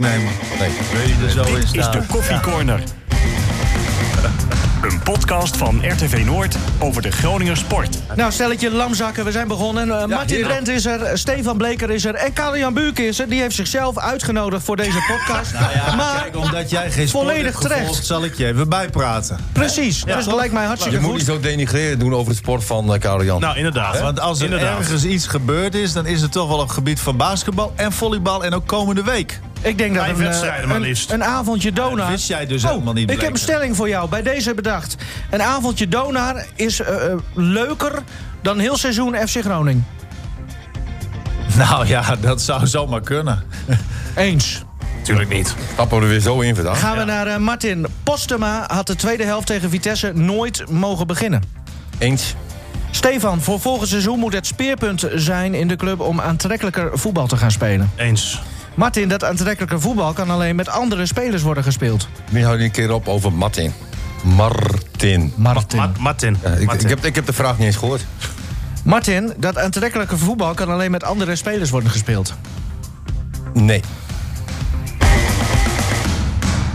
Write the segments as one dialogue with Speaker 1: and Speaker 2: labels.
Speaker 1: Nee, man. Nee. Ben je er zo in
Speaker 2: Dit is
Speaker 1: staat?
Speaker 2: de Koffie Corner. Een podcast van RTV Noord over de Groninger sport.
Speaker 3: Nou, stelletje lamzakken, we zijn begonnen. Eh, Martin
Speaker 1: heerlijk.
Speaker 3: Drent is er, eh, Stefan Bleker is er en Karel-Jan Buurk is er. Die heeft zichzelf uitgenodigd voor deze podcast.
Speaker 1: Nou Ja,
Speaker 3: maar
Speaker 1: kijk, omdat jij geen sport
Speaker 3: Volledig
Speaker 1: hebt gevolgd,
Speaker 3: terecht.
Speaker 1: zal ik je even bijpraten.
Speaker 3: precies, dus het lijkt mij
Speaker 4: Je
Speaker 3: hartstikke
Speaker 4: moet niet
Speaker 3: goed.
Speaker 4: zo denigreren doen over de sport van eh Karel Jan.
Speaker 2: Nou, inderdaad.
Speaker 1: Want als er
Speaker 2: inderdaad.
Speaker 1: ergens iets gebeurd is, dan is het toch wel op het gebied van basketbal en volleybal en ook komende week.
Speaker 3: Ik denk dat
Speaker 2: Vijf
Speaker 3: een, eh,
Speaker 2: wedstrijden maar
Speaker 3: een,
Speaker 2: liefst.
Speaker 3: een avondje donar...
Speaker 1: dat wist jij dus
Speaker 3: Oh,
Speaker 1: helemaal niet,
Speaker 3: Ik heb een
Speaker 1: Bleker.
Speaker 3: stelling voor jou, bij deze bedacht. Een avondje donar is eh, eh, leuker dan heel seizoen FC Groningen.
Speaker 1: Nou ja, dat zou zomaar kunnen.
Speaker 3: Eens.
Speaker 2: Natuurlijk niet.
Speaker 4: Stappen we er weer zo in vandaag.
Speaker 3: Gaan we naar eh, Martin. Postema had de tweede helft tegen Vitesse nooit mogen beginnen.
Speaker 4: Eens.
Speaker 3: Stefan, voor volgend seizoen moet het speerpunt zijn in de club om aantrekkelijker voetbal te gaan spelen.
Speaker 2: Eens.
Speaker 3: Martin, dat aantrekkelijker voetbal kan alleen met andere spelers worden gespeeld.
Speaker 4: Nu hou je een keer op over Martin. Martin.
Speaker 3: Martin.
Speaker 2: Ma- Martin.
Speaker 4: Eh, ik,
Speaker 2: Martin.
Speaker 4: ik, heb, ik heb de vraag niet eens gehoord.
Speaker 3: Martin, dat aantrekkelijke voetbal kan alleen met andere spelers worden gespeeld.
Speaker 4: Nee.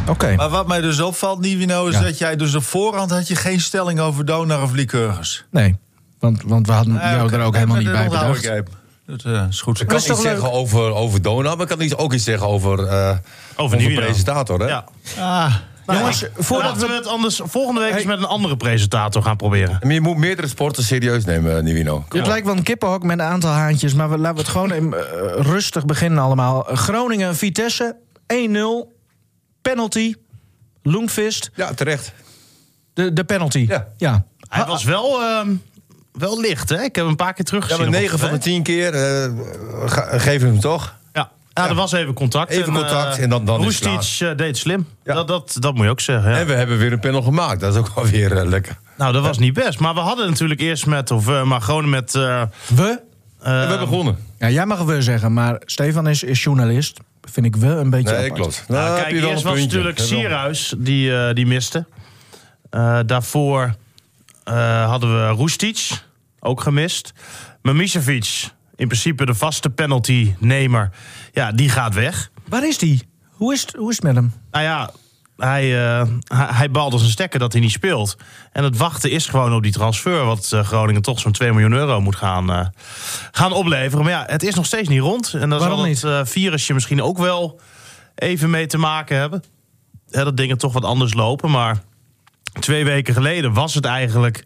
Speaker 3: Oké.
Speaker 1: Maar wat mij dus opvalt, Nivino, is dat jij dus op voorhand had je geen stelling over donar of liqueurs.
Speaker 3: Nee. Want, want we hadden jou er ook helemaal niet bij bedacht.
Speaker 1: bedacht. Dat eh, is goed.
Speaker 4: Ik kan
Speaker 3: is toch
Speaker 4: iets
Speaker 3: leuk?
Speaker 4: zeggen over, over Donald, maar ik kan iets- ook iets zeggen over, eh
Speaker 2: Over
Speaker 4: onze
Speaker 2: Nivino.
Speaker 4: presentator. Hè?
Speaker 2: Ja.
Speaker 1: Ah,
Speaker 3: Jongens, voordat
Speaker 2: Laten
Speaker 3: we...
Speaker 2: we het anders volgende week eens met een andere presentator gaan proberen.
Speaker 4: Maar je moet meerdere sporten serieus nemen, eh, Nivino.
Speaker 3: Het lijkt wel een kippenhok met een aantal haantjes, maar we, laten we het gewoon even, eh, rustig beginnen allemaal. Groningen, Vitesse, 1-0, penalty, Loengvist,
Speaker 4: Ja, terecht.
Speaker 3: de, de penalty.
Speaker 4: Ja.
Speaker 2: Hij was wel, ehm, wel licht, hè? Ik heb hem een paar keer
Speaker 4: Ja,
Speaker 2: teruggezien.
Speaker 4: maar
Speaker 2: op
Speaker 4: 9 van de
Speaker 2: het
Speaker 4: 10 keer eh ga- geven we hem toch.
Speaker 2: veld. Ja. Ja, er was even contact. eh,
Speaker 4: Even contact en dan- dan is het
Speaker 2: Roestic eh, deed het slim.
Speaker 4: Ja.
Speaker 2: Dat, dat, dat moet je ook zeggen. ja.
Speaker 4: En we hebben weer een panel gemaakt. Dat is ook wel weer eh, lekker.
Speaker 2: Nou, dat was niet best. Maar we hadden natuurlijk eerst met, of eh, maar gewoon met... eh,
Speaker 3: We?
Speaker 4: En we
Speaker 2: eh,
Speaker 4: hebben gewonnen.
Speaker 3: Ja, jij mag we zeggen, maar Stefan is, is journalist. Vind ik wel een beetje
Speaker 4: Nee,
Speaker 3: apart.
Speaker 4: klopt.
Speaker 2: Nou,
Speaker 4: heb
Speaker 2: kijk,
Speaker 4: je wel
Speaker 2: eerst
Speaker 4: een
Speaker 2: was
Speaker 4: puntje.
Speaker 2: natuurlijk
Speaker 4: Heb je wel-
Speaker 2: Sierhuis die, eh, die miste. Eh, daarvoor eh, hadden we Roestic, ook gemist. Mamicevic, in principe de vaste penalty-nemer, ja, die gaat weg.
Speaker 3: Waar is die? Hoe is, het, hoe is het met hem?
Speaker 2: Nou ja, hij, eh hij, hij balde zijn stekker dat hij niet speelt. En het wachten is gewoon op die transfer... wat eh, Groningen toch zo'n 2 miljoen euro moet gaan, eh, gaan opleveren. Maar ja, het is nog steeds niet rond. En daar
Speaker 3: Waarom
Speaker 2: zal
Speaker 3: niet?
Speaker 2: het eh, virusje misschien ook wel even mee te maken hebben. Hè, dat dingen toch wat anders lopen. Maar twee weken geleden was het eigenlijk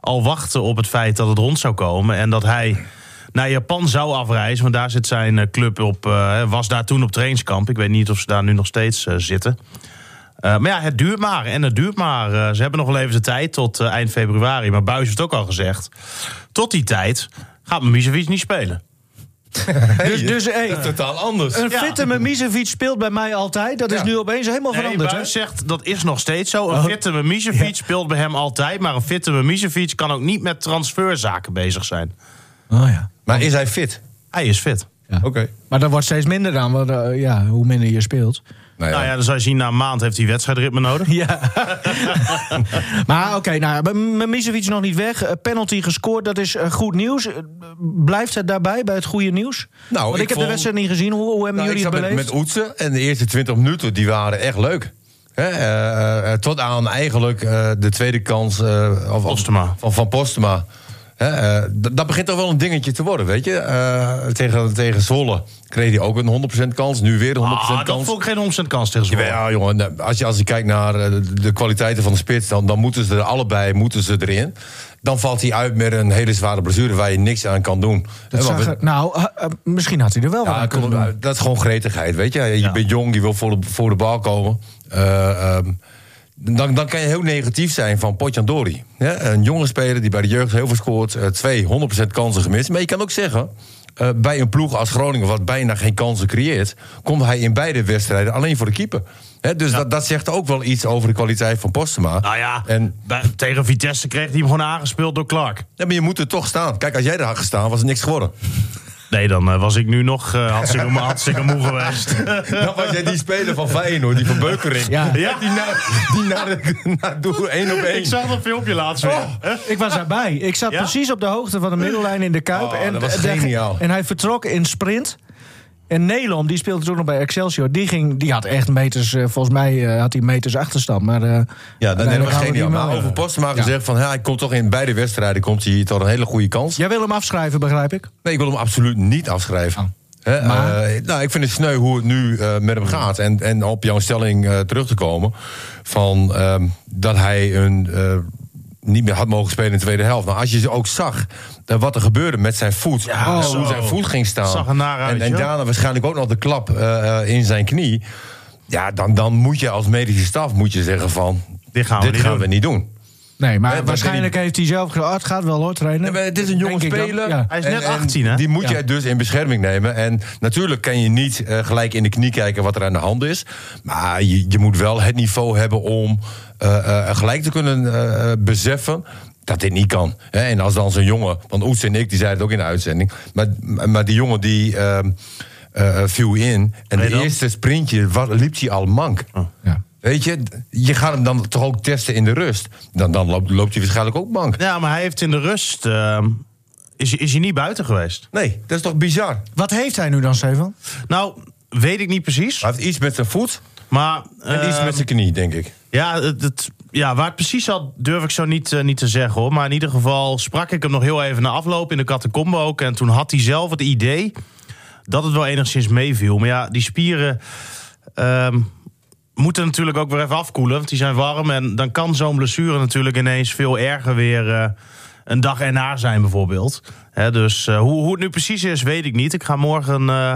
Speaker 2: al wachten op het feit dat het rond zou komen. En dat hij naar Japan zou afreizen. Want daar zit zijn eh, club op. eh, was daar toen op trainingskamp. Ik weet niet of ze daar nu nog steeds eh, zitten. Eh, maar ja, het duurt maar. En het duurt maar. Eh, ze hebben nog wel even de tijd tot eh, eind februari. Maar Buis heeft het ook al gezegd. Tot die tijd gaat Mimicevic niet spelen.
Speaker 3: dus dus hey,
Speaker 4: Dat is totaal anders.
Speaker 3: een
Speaker 2: ja.
Speaker 3: fitte Mimicevic speelt bij mij altijd. Dat is
Speaker 4: Ja.
Speaker 3: nu opeens helemaal
Speaker 2: Nee,
Speaker 3: veranderd.
Speaker 2: Buijs
Speaker 3: hè?
Speaker 2: zegt dat is nog steeds zo. Een fitte Mimicevic speelt bij hem altijd. Maar een fitte Mimicevic kan ook niet met transferzaken bezig zijn.
Speaker 3: Oh, ja.
Speaker 4: Maar is hij fit?
Speaker 2: Hij is fit.
Speaker 4: Oké.
Speaker 3: Maar dat wordt steeds minder dan want, eh, ja, hoe minder je speelt.
Speaker 4: Nou
Speaker 2: Nou ja, dan zou je zien, na een maand heeft hij wedstrijdritme nodig.
Speaker 3: Ja. maar oké, nou, Mimicevic nog niet weg. Eh, Penalty gescoord, dat is eh, goed nieuws. Eh, Blijft het daarbij bij het goede nieuws?
Speaker 4: Nou,
Speaker 3: Want ik, heb
Speaker 4: ik vond-
Speaker 3: de wedstrijd niet gezien. Hoe, hoe hebben
Speaker 4: Nou, ik
Speaker 3: jullie
Speaker 4: zat
Speaker 3: het
Speaker 4: met,
Speaker 3: beleefd?
Speaker 4: met Oetsen en de eerste 20 minuten die waren echt leuk. Hè, eh, eh, tot aan eigenlijk eh, de tweede kans eh, of- of-
Speaker 2: Postema.
Speaker 4: Van, van Postema. Hè, eh, d- dat begint toch wel een dingetje te worden, weet je. Eh, tegen, tegen Zwolle kreeg hij ook een 100% kans. Nu weer een 100%
Speaker 2: Ah, dat
Speaker 4: kans.
Speaker 2: vond ik geen omzet kans tegen Zwolle.
Speaker 4: Ja, jongen, nou, als je, als je kijkt naar eh, de, de kwaliteiten van de spits... Dan, dan moeten ze er allebei moeten ze erin. Dan valt hij uit met een hele zware blessure... waar je niks aan kan doen.
Speaker 3: Dat
Speaker 4: Hè, want
Speaker 3: zag
Speaker 4: we-
Speaker 3: er- nou, eh, eh, misschien had hij er wel wat
Speaker 4: ja,
Speaker 3: aan kunnen
Speaker 4: kom,
Speaker 3: doen.
Speaker 4: nou, dat is gewoon gretigheid, weet je. Je
Speaker 2: Ja.
Speaker 4: bent jong, je wil voor de, voor de bal komen. Eh, ehm, dan, dan kan je heel negatief zijn van Potjandori. hè? een jonge speler die bij de jeugd heel veel scoort. eh, twee, 100% kansen gemist. Maar je kan ook zeggen... eh, bij een ploeg als Groningen, wat bijna geen kansen creëert... komt hij in beide wedstrijden alleen voor de keeper. Hè, dus dat, dat zegt ook wel iets over de kwaliteit van Postema.
Speaker 2: Nou ja,
Speaker 4: En,
Speaker 2: bij- tegen Vitesse kreeg hij hem gewoon aangespeeld door Clark.
Speaker 4: ja, maar je moet er toch staan. Kijk, als jij daar had gestaan, was er niks geworden.
Speaker 2: Nee, dan eh, was ik nu nog eh, hartstikke, moe- hartstikke moe geweest.
Speaker 4: Dan was jij die speler van Feyenoord, die van Beukering.
Speaker 3: Ja.
Speaker 2: Ja.
Speaker 4: Die naar, die naar, de- naar doel 1 op 1.
Speaker 2: ik zag dat filmpje laatst weer.
Speaker 4: Oh.
Speaker 2: Hè?
Speaker 3: Ik was daarbij. Ik zat
Speaker 2: Ja?
Speaker 3: precies op de hoogte van de middellijn in de Kuip.
Speaker 4: Oh,
Speaker 3: en,
Speaker 4: dat was geniaal.
Speaker 3: en hij vertrok in sprint. En Nelom, die speelde toen nog bij Excelsior. Die, ging, die had echt meters, eh, volgens mij eh, had hij meters achterstand. Maar, eh,
Speaker 4: Ja, dan
Speaker 3: uiteindelijk
Speaker 4: hebben
Speaker 3: hadden
Speaker 4: we geen
Speaker 3: die
Speaker 4: idee.
Speaker 3: hem
Speaker 4: Maar
Speaker 3: wel.
Speaker 4: over Postma
Speaker 3: Ja.
Speaker 4: gezegd van... Ja, hij komt toch in beide wedstrijden komt hij tot een hele goede kans.
Speaker 3: Jij wil hem afschrijven, begrijp ik.
Speaker 4: Nee, ik wil hem absoluut niet afschrijven.
Speaker 3: Oh.
Speaker 4: Hè,
Speaker 3: Maar?
Speaker 4: eh, nou, ik vind het sneu hoe het nu eh, met
Speaker 2: Hmm.
Speaker 4: hem gaat. En, en op jouw stelling eh, terug te komen... van ehm, dat hij een, eh, niet meer had mogen spelen in de tweede helft. Nou, als je ze ook zag eh, wat er gebeurde met zijn voet...
Speaker 2: Ja,
Speaker 4: eh,
Speaker 2: zo.
Speaker 4: hoe zijn voet ging staan...
Speaker 2: Zag er naar uit,
Speaker 4: en, en
Speaker 2: ja.
Speaker 4: daarna waarschijnlijk ook nog de klap eh, eh, in zijn knie... ja, dan, dan moet je als medische staf moet je zeggen van...
Speaker 2: Dit gaan we niet doen.
Speaker 4: niet doen.
Speaker 3: Nee, maar
Speaker 4: Nee, maar
Speaker 3: waarschijnlijk heeft hij zelf gedacht, "Ah, het gaat wel hoor, trainen.
Speaker 4: Ja, maar het is een jonge speler.
Speaker 2: Hij is net
Speaker 4: En- en
Speaker 2: 18, hè?
Speaker 4: Die moet
Speaker 3: Ja.
Speaker 4: je dus in bescherming nemen. En natuurlijk kan je niet eh, gelijk in de knie kijken wat er aan de hand is. Maar je, je moet wel het niveau hebben om eh, eh, gelijk te kunnen eh, eh, beseffen dat dit niet kan. Hè, en als dan zo'n jongen, want Oets en ik die zeiden het ook in de uitzending. Maar, maar die jongen die ehm, eh, eh, viel in. En
Speaker 2: je
Speaker 4: de
Speaker 2: dan?
Speaker 4: eerste sprintje wat, liep hij al mank.
Speaker 3: Ja.
Speaker 4: Weet je, je gaat hem dan toch ook testen in de rust. Dan, dan loopt, loopt hij waarschijnlijk ook mank.
Speaker 2: Ja, maar hij heeft in de rust. ehm, is, is hij niet buiten geweest?
Speaker 4: Nee, dat is toch bizar?
Speaker 3: Wat heeft hij nu dan, Stefan?
Speaker 2: Nou, weet ik niet precies.
Speaker 4: Hij heeft iets met zijn voet
Speaker 2: Maar.
Speaker 4: en iets
Speaker 2: ehm,
Speaker 4: met zijn knie, denk ik.
Speaker 2: Ja, het, het- ja, waar het precies zat, durf ik zo niet, eh, niet te zeggen hoor. Maar in ieder geval sprak ik hem nog heel even na afloop in de catacombe ook. En toen had hij zelf het idee dat het wel enigszins meeviel. Maar ja, die spieren ehm, moeten natuurlijk ook weer even afkoelen. Want die zijn warm. En dan kan zo'n blessure natuurlijk ineens veel erger weer eh, een dag erna zijn, bijvoorbeeld. Hè, dus eh, hoe, hoe het nu precies is, weet ik niet. Ik ga morgen. eh,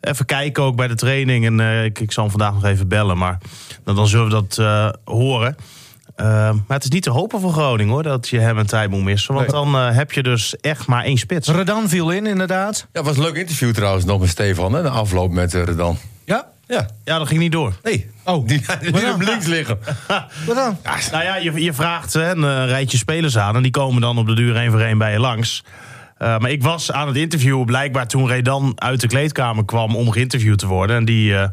Speaker 2: Even kijken ook bij de training. En eh, ik, ik zal hem vandaag nog even bellen. Maar dan, dan zullen we dat eh, horen. Eh, maar het is niet te hopen voor Groningen hoor. Dat je hem een tijd moet missen. Want dan eh, heb je dus echt maar één spits.
Speaker 3: Redan viel in, inderdaad.
Speaker 4: Ja, was een leuk interview trouwens nog met Stefan, hè, de afloop met eh, Redan.
Speaker 3: Ja,
Speaker 4: Ja,
Speaker 2: Ja, dat ging niet door.
Speaker 4: nee. Oh, die die
Speaker 3: Wat dan?
Speaker 4: op links liggen.
Speaker 3: wat dan?
Speaker 2: Nou ja, je, je vraagt hè, een eh, rijtje spelers aan. En die komen dan op de duur één voor één bij je langs. Eh, maar ik was aan het interviewen blijkbaar toen Redan uit de kleedkamer kwam om geïnterviewd te worden. En die eh,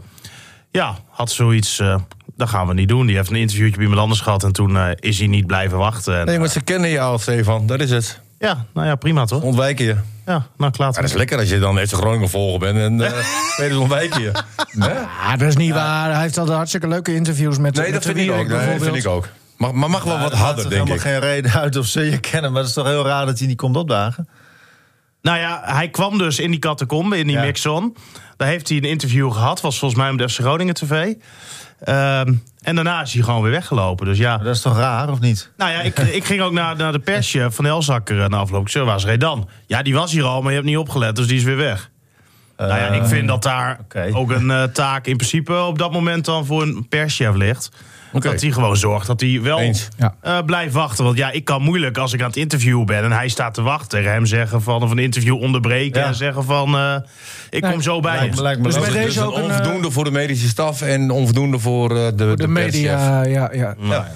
Speaker 2: ja, had zoiets. eh, dat gaan we niet doen. Die heeft een interviewtje bij iemand anders gehad. En toen eh, is hij niet blijven wachten. En,
Speaker 4: Nee, maar ze kennen je al, Stefan. Dat is het.
Speaker 2: Ja, nou ja, prima toch?
Speaker 4: Ontwijken je.
Speaker 2: Ja, nou klaar.
Speaker 4: Ja, dat is lekker als je dan even Groningen volgen bent en eh nee, dus ontwijken je. Hè?
Speaker 3: Ah, dat is niet waar. Hij heeft al de hartstikke leuke interviews met
Speaker 4: Nee,
Speaker 3: met
Speaker 4: dat
Speaker 3: de
Speaker 4: vind ik
Speaker 3: Wierik
Speaker 4: ook. Nee, dat vind
Speaker 3: bijvoorbeeld.
Speaker 4: ik ook. Mag, maar mag wel
Speaker 1: Ja,
Speaker 4: wat
Speaker 1: dat maakt
Speaker 4: harder,
Speaker 1: toch
Speaker 4: denk ik.
Speaker 1: helemaal geen reden uit of ze je kennen. Maar het is toch heel raar dat hij niet komt opdagen?
Speaker 2: Nou ja, hij kwam dus in die catacombe, in die
Speaker 1: Ja.
Speaker 2: mixon. Daar heeft hij een interview gehad, was volgens mij met FC Groningen TV. Ehm, en daarna is hij gewoon weer weggelopen. Dus ja,
Speaker 1: Maar dat is toch raar, of niet?
Speaker 2: nou ja, ik, ik ging ook naar, naar de persje van Elzakker eh, na afloop. Ik zei, waar is Redan? Ja, die was hier al, maar je hebt niet opgelet, dus die is weer weg. nou ja, ik vind dat daar
Speaker 1: oké.
Speaker 2: ook een eh, taak in principe op dat moment dan voor een perschef ligt.
Speaker 4: Oké.
Speaker 2: Dat hij gewoon zorgt dat hij wel
Speaker 4: Eens.
Speaker 3: Ja.
Speaker 2: eh, blijft wachten. Want ja, ik kan moeilijk als ik aan het interviewen ben en hij staat te wachten. Tegen hem zeggen van, of een interview onderbreken
Speaker 1: Ja.
Speaker 2: en zeggen van, eh, ik
Speaker 3: Nee,
Speaker 2: kom zo bij
Speaker 1: Lijkt
Speaker 2: je.
Speaker 1: me- lijkt me
Speaker 3: Dus
Speaker 1: logisch.
Speaker 3: bij
Speaker 4: Dus
Speaker 3: deze
Speaker 4: een
Speaker 3: ook een, eh,
Speaker 4: onvoldoende voor de medische staf en onvoldoende voor eh, de,
Speaker 3: De media, ja, ja.
Speaker 2: Nou ja.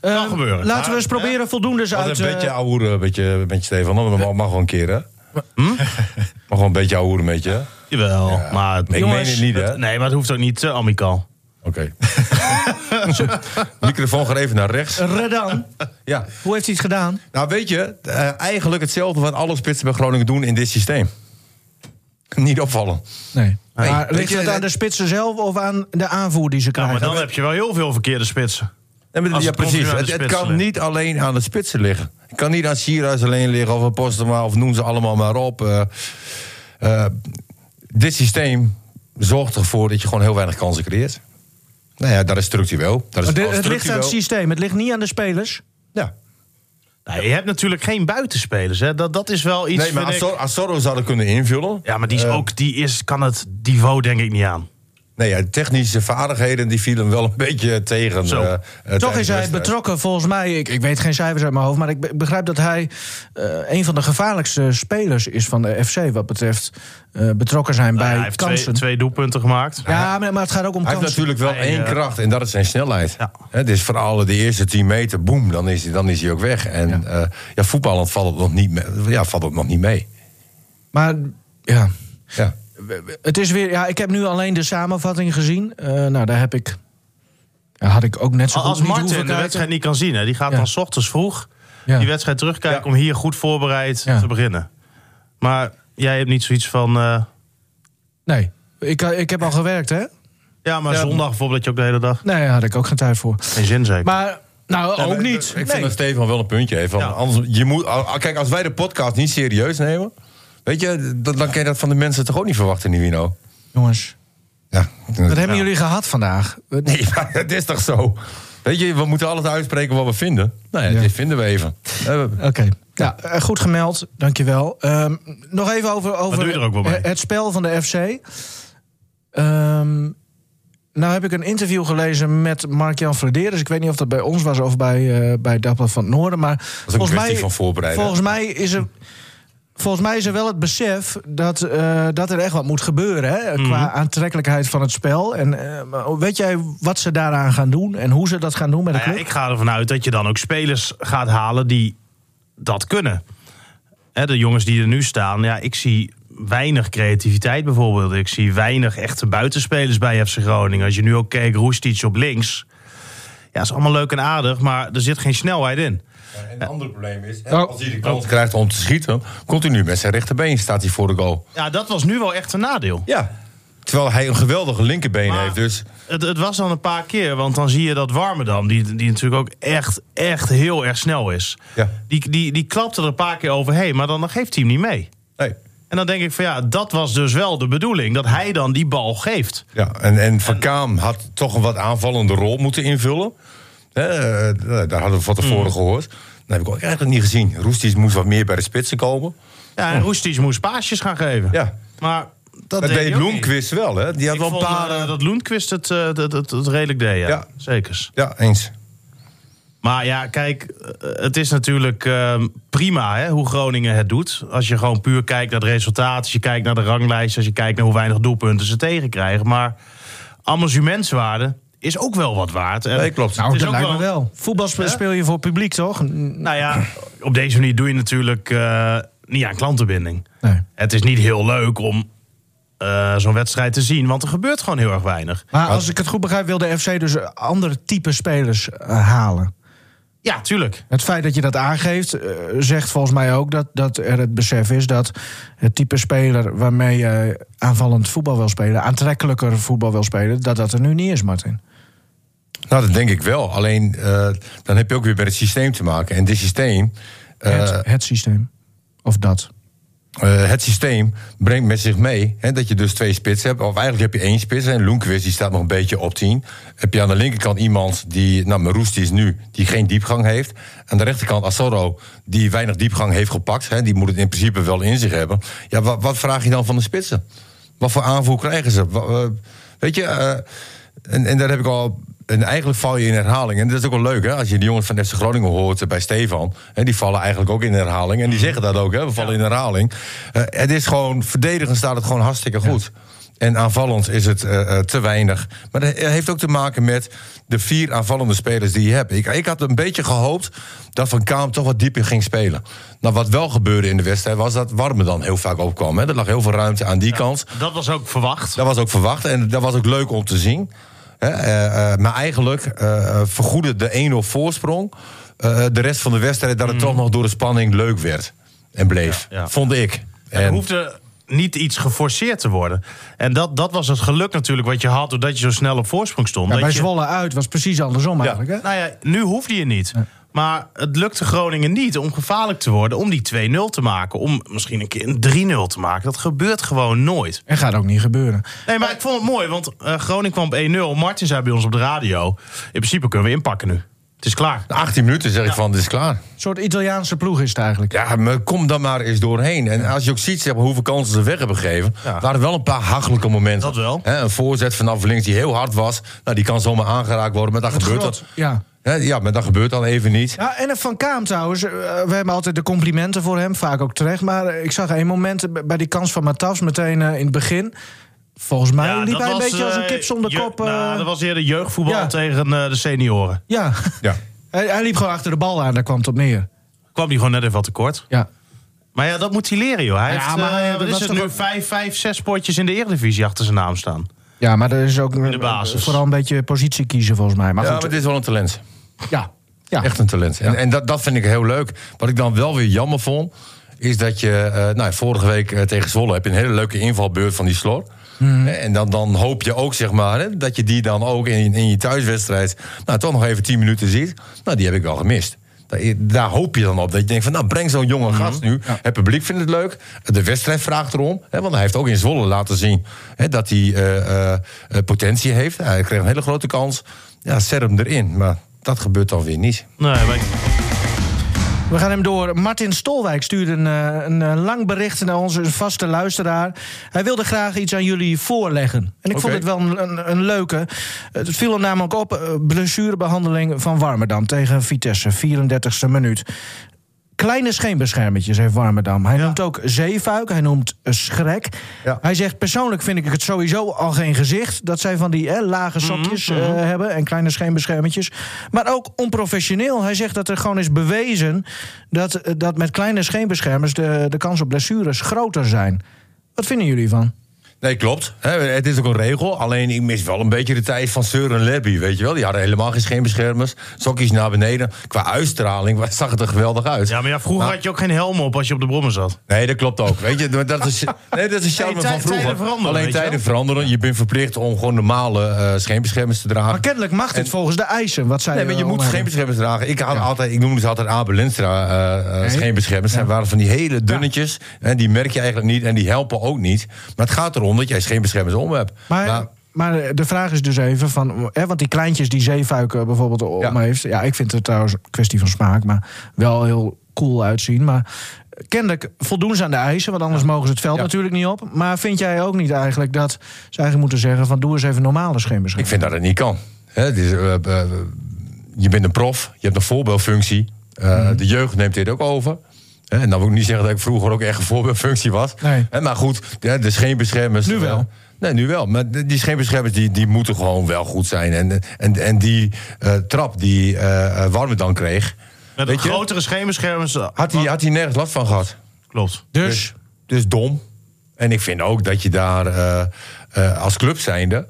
Speaker 2: Kan
Speaker 3: Eh,
Speaker 2: gebeuren.
Speaker 3: Laten we eens proberen voldoende ze uit...
Speaker 4: Wat een
Speaker 3: eh,
Speaker 4: beetje ouwe met je, met je Stefan. Dat mag, mag gewoon een keer, hè? Hm? Mag gewoon een beetje ouwe met je, hè?
Speaker 2: Jawel, maar... het-
Speaker 4: Ik meen het niet, hè?
Speaker 2: Nee, maar het hoeft ook niet te amicaal.
Speaker 4: Oké. Microfoon gaat even naar rechts.
Speaker 3: Redan,
Speaker 4: Ja.
Speaker 3: hoe heeft hij het gedaan?
Speaker 4: Nou, weet je, eh, eigenlijk hetzelfde wat alle spitsen bij Groningen doen in dit systeem. Niet opvallen.
Speaker 3: Nee.
Speaker 4: Nee.
Speaker 3: Maar
Speaker 4: Weet
Speaker 3: ligt
Speaker 4: je,
Speaker 3: het aan
Speaker 4: eh,
Speaker 3: de spitsen zelf of aan de aanvoer die ze
Speaker 2: Ja,
Speaker 3: krijgen?
Speaker 2: Nou, maar dan heb je wel heel veel verkeerde spitsen.
Speaker 4: En met-
Speaker 2: Als
Speaker 4: ja,
Speaker 2: het continu
Speaker 4: precies.
Speaker 2: aan de
Speaker 4: Het, het
Speaker 2: spitsen
Speaker 4: kan
Speaker 2: ligt.
Speaker 4: niet alleen aan de spitsen liggen. Het kan niet aan Sierhuis alleen liggen of aan Postema of noem ze allemaal maar op. Eh, eh, dit systeem zorgt ervoor dat je gewoon heel weinig kansen creëert. Nou ja, dat is structureel. Dat is
Speaker 3: Maar dit-
Speaker 4: al
Speaker 3: het ligt aan het
Speaker 4: structureel.
Speaker 3: systeem, het ligt niet aan de spelers.
Speaker 4: Ja.
Speaker 2: Nou, je hebt natuurlijk geen buitenspelers. Hè? Dat, dat is wel iets.
Speaker 4: Nee, maar
Speaker 2: vind ik-
Speaker 4: Azor- Azorro zou dat kunnen invullen.
Speaker 2: Ja, maar die, is
Speaker 4: Eh,
Speaker 2: ook, die is, kan het niveau denk ik niet aan.
Speaker 4: Nee, ja, de technische vaardigheden die vielen hem wel een beetje tegen.
Speaker 2: Zo.
Speaker 4: eh, eh,
Speaker 3: Toch is
Speaker 4: tijdens de
Speaker 3: hij
Speaker 4: wedstrijd.
Speaker 3: betrokken, volgens mij, ik, ik weet geen cijfers uit mijn hoofd... maar ik be- begrijp dat hij eh, een van de gevaarlijkste spelers is van de FC... wat betreft eh, betrokken zijn
Speaker 2: Nou ja,
Speaker 3: bij
Speaker 2: hij heeft twee,
Speaker 3: kansen.
Speaker 2: twee doelpunten gemaakt.
Speaker 3: Ja, maar maar het gaat ook om
Speaker 4: Hij heeft
Speaker 3: kansen.
Speaker 4: natuurlijk wel
Speaker 2: Hij,
Speaker 4: één
Speaker 2: eh,
Speaker 4: kracht en dat is zijn snelheid.
Speaker 2: Ja.
Speaker 4: Hè, dus vooral de eerste 10 meter, boem, dan is hij, dan is hij ook weg. En ja. ja, voetballend valt het nog niet mee. Ja, valt het nog niet mee.
Speaker 3: Maar ja,
Speaker 4: Ja.
Speaker 3: het is weer. Ja, ik heb nu alleen de samenvatting gezien. Eh, nou, daar heb ik. ja, had ik ook net zo
Speaker 2: Al-
Speaker 3: goed
Speaker 2: Als
Speaker 3: niet
Speaker 2: Martin de
Speaker 3: hoeven kijken.
Speaker 2: wedstrijd niet kan zien, hè, die gaat
Speaker 3: Ja.
Speaker 2: dan 's ochtends vroeg
Speaker 3: Ja.
Speaker 2: die wedstrijd terugkijken om hier goed voorbereid
Speaker 3: Ja.
Speaker 2: te beginnen. Maar jij hebt niet zoiets van. eh,
Speaker 3: Nee. Ik, ik heb al gewerkt, hè?
Speaker 2: Ja, maar zondag bijvoorbeeld, dat je ook de hele dag
Speaker 3: Nee, daar had ik ook geen tijd voor.
Speaker 2: geen zin zeker.
Speaker 3: Maar, nou, ook
Speaker 4: maar
Speaker 3: niet.
Speaker 4: Ik vind
Speaker 3: Nee.
Speaker 4: dat Stefan wel een puntje heeft. want
Speaker 2: Ja.
Speaker 4: Anders, je moet, al- al- kijk, als wij de podcast niet serieus nemen... Weet je, dan, dan kan je dat van de mensen toch ook niet verwachten, Nivino?
Speaker 3: Jongens,
Speaker 4: Ja.
Speaker 3: wat hebben jullie gehad vandaag?
Speaker 4: Nee, maar het is toch zo? Weet je, we moeten alles uitspreken wat we vinden. Nou ja,
Speaker 3: Ja.
Speaker 4: dit vinden we even. Eh, we-
Speaker 3: Oké. Ja, eh, goed gemeld. Dankjewel. Ehm nog even over, over
Speaker 2: doe je er ook wel bij?
Speaker 3: het- het spel van de FC. Ehm, nou heb ik een interview gelezen met Mark-Jan Frederis. Ik weet niet of dat bij ons was of bij, eh bij Dagblad van het Noorden. Maar
Speaker 4: een kwestie van voorbereiden.
Speaker 3: Volgens mij is er... Volgens mij is er wel het besef dat, eh, dat er echt wat moet gebeuren. Hè?
Speaker 2: Mhm.
Speaker 3: Qua aantrekkelijkheid van het spel. En eh, maar weet jij wat ze daaraan gaan doen? En hoe ze dat gaan doen met de
Speaker 2: Nou ja,
Speaker 3: club?
Speaker 2: ik ga ervan uit dat je dan ook spelers gaat halen die dat kunnen. Hè, de jongens die er nu staan, ja, ik zie weinig creativiteit bijvoorbeeld. Ik zie weinig echte buitenspelers bij FC Groningen. Als je nu ook kijkt, Roestic op links. Ja, is allemaal leuk en aardig, maar er zit geen snelheid in.
Speaker 4: En een ander probleem is, hè,
Speaker 3: Oh.
Speaker 4: als hij de kans Nou, krijgt om te schieten... continu met zijn rechterbeen staat hij voor de goal.
Speaker 2: Ja, dat was nu wel echt een nadeel.
Speaker 4: Ja. Terwijl hij een geweldige linkerbeen
Speaker 2: Maar-
Speaker 4: heeft, dus...
Speaker 2: Het, het was dan een paar keer, want dan zie je dat Warmerdam, die, die natuurlijk ook echt, echt heel erg snel is.
Speaker 4: Ja.
Speaker 2: Die, die, die klapte er een paar keer overheen, maar dan, dan geeft hij hem niet mee.
Speaker 4: Nee.
Speaker 2: En dan denk ik van ja, dat was dus wel de bedoeling. Dat hij dan die bal geeft.
Speaker 4: Ja, en, en Van Kaam had toch een wat aanvallende rol moeten invullen. Hè, eh, daar hadden we van tevoren gehoord. Dat heb ik ook eigenlijk niet gezien. Roesties moest wat meer bij de spitsen komen.
Speaker 2: Ja, en Roestic moest paasjes gaan geven.
Speaker 4: Ja.
Speaker 2: Maar dat,
Speaker 4: Dat
Speaker 2: deed
Speaker 4: deed
Speaker 2: hij ook niet.
Speaker 4: Bloemquist wel, hè? Die had
Speaker 2: Ik
Speaker 4: wel een
Speaker 2: vond
Speaker 4: paar...
Speaker 2: eh,
Speaker 4: eh,
Speaker 2: dat Loenquist het, eh, dat, dat, dat redelijk deed, ja.
Speaker 4: Ja.
Speaker 2: Zekers.
Speaker 4: Ja, eens.
Speaker 2: Maar ja, kijk, eh, het is natuurlijk eh, prima hè, hoe Groningen het doet. Als je gewoon puur kijkt naar het resultaat, als je kijkt naar de ranglijst... als je kijkt naar hoe weinig doelpunten ze tegenkrijgen. Maar amusementswaarde is ook wel wat waard. En
Speaker 4: Nee, klopt.
Speaker 2: Dus het
Speaker 3: Nou,
Speaker 2: is
Speaker 3: dat
Speaker 2: ook
Speaker 3: lijkt
Speaker 2: wel-
Speaker 3: me wel. Voetbal spe- speel je voor publiek, toch? N-
Speaker 2: Nou ja, op deze manier doe je natuurlijk eh, niet aan klantenbinding.
Speaker 3: Nee.
Speaker 2: Het is niet heel leuk om eh, zo'n wedstrijd te zien, want er gebeurt gewoon heel erg weinig.
Speaker 3: Maar als ik het goed begrijp, wil de FC dus eh, andere type spelers eh, halen.
Speaker 2: Ja, tuurlijk.
Speaker 3: Het feit dat je dat aangeeft, eh, zegt volgens mij ook dat, dat er het besef is dat het type speler waarmee je aanvallend voetbal wil spelen, aantrekkelijker voetbal wil spelen, dat dat er nu niet is, Martin.
Speaker 4: Nou, dat denk ik wel. Alleen, eh, dan heb je ook weer met het systeem te maken. En dit systeem... eh,
Speaker 3: het, het systeem. Of dat.
Speaker 4: Eh, het systeem brengt met zich mee hè, dat je dus twee spitsen hebt. Of eigenlijk heb je één spits. En Loenkwist die staat nog een beetje op 10. Heb je aan de linkerkant iemand die, nou Meroes die is nu, die geen diepgang heeft. Aan de rechterkant Asoro, die weinig diepgang heeft gepakt. Hè, die moet het in principe wel in zich hebben. Ja, wat, wat vraag je dan van de spitsen? Wat voor aanvoer krijgen ze? Wa- eh, weet je, eh, en, en daar heb ik al. En eigenlijk val je in herhaling. En dat is ook wel leuk, hè? Als je de jongens van FC Groningen hoort eh, bij Stefan. Hè, die vallen eigenlijk ook in herhaling. En die zeggen dat ook, hè? We vallen in herhaling. Eh, het is gewoon, verdedigend staat het gewoon hartstikke goed. En aanvallend is het eh, eh, te weinig. Maar dat heeft ook te maken met de vier aanvallende spelers die je hebt. Ik, ik had een beetje gehoopt dat Van Kaam toch wat dieper ging spelen. Nou, wat wel gebeurde in de wedstrijd was dat Warme dan heel vaak opkwam. Hè? Er lag heel veel ruimte aan die kant.
Speaker 2: Dat was ook verwacht.
Speaker 4: Dat was ook verwacht en dat was ook leuk om te zien. Hè, eh, eh, maar eigenlijk eh, eh, vergoedde de 1-0 voorsprong eh, de rest van de wedstrijd... dat het toch nog door de spanning leuk werd en bleef,
Speaker 2: Ja, ja.
Speaker 4: vond ik.
Speaker 2: Er
Speaker 4: En,
Speaker 2: hoefde niet iets geforceerd te worden. En dat, dat was het geluk natuurlijk wat je had doordat je zo snel op voorsprong stond.
Speaker 3: Ja,
Speaker 2: Dat
Speaker 3: bij
Speaker 2: je-
Speaker 3: Zwolle uit was precies andersom eigenlijk. Hè?
Speaker 2: Nou ja, nu hoefde je niet. Maar het lukte Groningen niet om gevaarlijk te worden, om die 2-0 te maken. Om misschien een keer een 3-0 te maken. Dat gebeurt gewoon nooit.
Speaker 3: En gaat ook niet gebeuren.
Speaker 2: Nee, maar ik vond het mooi, want eh, Groningen kwam op 1-0. Martin zei bij ons op de radio: in principe kunnen we inpakken nu. Het is klaar.
Speaker 4: na 18 minuten zeg ik van, dit is klaar.
Speaker 3: Een soort Italiaanse ploeg is het eigenlijk.
Speaker 4: Ja, maar kom dan maar eens doorheen. En als je ook ziet zeg maar, hoeveel kansen ze weg hebben gegeven...
Speaker 2: Ja.
Speaker 4: waren wel een paar hachelijke momenten.
Speaker 2: Dat wel.
Speaker 4: Hè, een voorzet vanaf links die heel hard was. Nou, die kan zomaar aangeraakt worden, maar dat gebeurt
Speaker 3: Groot,
Speaker 4: dat.
Speaker 3: Ja.
Speaker 4: Hè, ja, maar dat gebeurt dan even niet.
Speaker 3: Ja, en Van Kaam trouwens, eh, we hebben altijd de complimenten voor hem, vaak ook terecht. Maar eh, ik zag één moment b- bij die kans van Matas meteen eh, in het begin. Volgens mij liep
Speaker 2: dat
Speaker 3: hij een
Speaker 2: was,
Speaker 3: beetje als een
Speaker 2: eh,
Speaker 3: kip zonder
Speaker 2: je-
Speaker 3: kop. eh,
Speaker 2: nou, dat was eerder jeugdvoetbal
Speaker 3: Ja.
Speaker 2: tegen eh, de senioren.
Speaker 3: Ja,
Speaker 4: Ja.
Speaker 3: hij, hij liep gewoon achter de bal aan, daar kwam het op neer.
Speaker 2: Kwam die gewoon net even wat tekort.
Speaker 3: Ja.
Speaker 2: Maar ja, dat moet hij leren, joh. Hij
Speaker 3: Ja,
Speaker 2: heeft,
Speaker 3: maar,
Speaker 2: eh,
Speaker 3: eh,
Speaker 2: wat
Speaker 3: dat
Speaker 2: is
Speaker 3: was
Speaker 2: het
Speaker 3: toch
Speaker 2: nu,
Speaker 3: ook-
Speaker 2: vijf, vijf, zes potjes in de Eredivisie achter zijn naam staan.
Speaker 3: ja, maar er is ook eh,
Speaker 2: de basis.
Speaker 3: vooral een beetje positie kiezen volgens mij. Maar
Speaker 4: Ja,
Speaker 3: goed,
Speaker 4: maar dit is wel een talent.
Speaker 3: ja. ja.
Speaker 4: Echt een talent. En, en dat, dat vind ik heel leuk. Wat ik dan wel weer jammer vond, is dat je... eh, nou, vorige week eh, tegen Zwolle heb je een hele leuke invalbeurt van die slot.
Speaker 3: Mhm.
Speaker 4: Hè, En dan, dan hoop je ook, zeg maar, hè, dat je die dan ook in, in je thuiswedstrijd... nou, toch nog even 10 minuten ziet. Nou, die heb ik wel gemist. Daar, eh, daar hoop je dan op. Dat je denkt van, nou, breng zo'n jonge
Speaker 3: Mhm.
Speaker 4: gast nu. Het publiek vindt het leuk. De wedstrijd vraagt erom. Hè, want hij heeft ook in Zwolle laten zien hè, dat hij eh, eh, eh, potentie heeft. Hij kreeg een hele grote kans. Ja, zet hem erin. Maar dat gebeurt dan weer niet.
Speaker 2: Nee, maar ik-
Speaker 3: We gaan hem door. Martin Stolwijk stuurde een, eh, een eh, lang bericht naar onze vaste luisteraar. Hij wilde graag iets aan jullie voorleggen. En ik vond
Speaker 4: Oké.
Speaker 3: het wel een, een, een leuke. Het viel hem namelijk op. eh, blessurebehandeling van Warmerdam tegen Vitesse, 34e minuut. Kleine scheenbeschermetjes heeft Warmerdam. Hij noemt ook zeefuik, hij noemt eh, schrek.
Speaker 4: Ja.
Speaker 3: Hij zegt, persoonlijk vind ik het sowieso al geen gezicht... dat zij van die hè,
Speaker 4: Mhm,
Speaker 3: lage sokjes eh, hebben en kleine scheenbeschermetjes. Maar ook onprofessioneel. Hij zegt dat er gewoon is bewezen... dat, eh, dat met kleine scheenbeschermers de, de kans op blessures groter zijn. Wat vinden jullie van?
Speaker 4: Nee, klopt. Hè, het is ook een regel. Alleen ik mis wel een beetje de tijd van Seur en Lebby, weet je wel. Die hadden helemaal geen scheenbeschermers. Sokjes naar beneden. Qua uitstraling was- zag het er geweldig uit.
Speaker 2: ja, maar ja, vroeger had je ook geen helm op als je op de brommer zat.
Speaker 4: Nee, dat klopt ook. Weet je, maar dat is, nee, dat is een charme
Speaker 2: Nee,
Speaker 4: van
Speaker 2: tij-
Speaker 4: vroeger.
Speaker 2: tijden veranderen,
Speaker 4: Alleen
Speaker 2: weet je
Speaker 4: tijden
Speaker 2: wel.
Speaker 4: veranderen. Je bent verplicht om gewoon normale eh, scheenbeschermers te dragen.
Speaker 3: Maar kennelijk mag dit
Speaker 4: En-
Speaker 3: volgens de eisen, wat zij
Speaker 4: Nee, maar je
Speaker 3: eh,
Speaker 2: Oh,
Speaker 4: moet
Speaker 3: omhebben.
Speaker 4: scheenbeschermers dragen. Ik, had altijd, ik noemde ze altijd Abel Linstra eh, eh, scheenbeschermers. Zij waren van die hele dunnetjes. En die merk je eigenlijk niet en die helpen ook niet. Maar het gaat erom dat jij scheenbeschermers om hebt.
Speaker 3: Maar,
Speaker 4: Maar-
Speaker 3: maar de vraag is dus even van... Hè, want die kleintjes die zeefuik eh, bijvoorbeeld om
Speaker 4: Ja.
Speaker 3: heeft... Ja, ik vind het trouwens een kwestie van smaak... maar wel heel cool uitzien. Maar kennelijk voldoen ze aan de eisen... want anders mogen ze het veld
Speaker 4: Ja.
Speaker 3: natuurlijk niet op. Maar vind jij ook niet eigenlijk dat ze eigenlijk moeten zeggen... van doe eens even normale
Speaker 4: Ik
Speaker 3: scheenbescherming?
Speaker 4: vind dat het niet kan. Hè, het is, eh, eh, je bent een prof, je hebt een voorbeeldfunctie. Eh,
Speaker 3: Mhm.
Speaker 4: De jeugd neemt dit ook over. Hè, en dan wil ik niet zeggen dat ik vroeger ook echt een voorbeeldfunctie was.
Speaker 3: Nee.
Speaker 4: Hè, maar goed, de, de scheenbeschermers...
Speaker 3: Nu wel.
Speaker 4: eh, Nee, nu wel. Maar de- die scheenbeschermers die, die moeten gewoon wel goed zijn. En, en, en die eh, trap die eh eh, Warme dan kreeg...
Speaker 2: Met
Speaker 4: weet je,
Speaker 2: grotere scheenbeschermers.
Speaker 4: had hij had hij nergens last van gehad.
Speaker 2: Klopt.
Speaker 3: Dus,
Speaker 4: Dus dom. En ik vind ook dat je daar eh, eh, als club zijnde...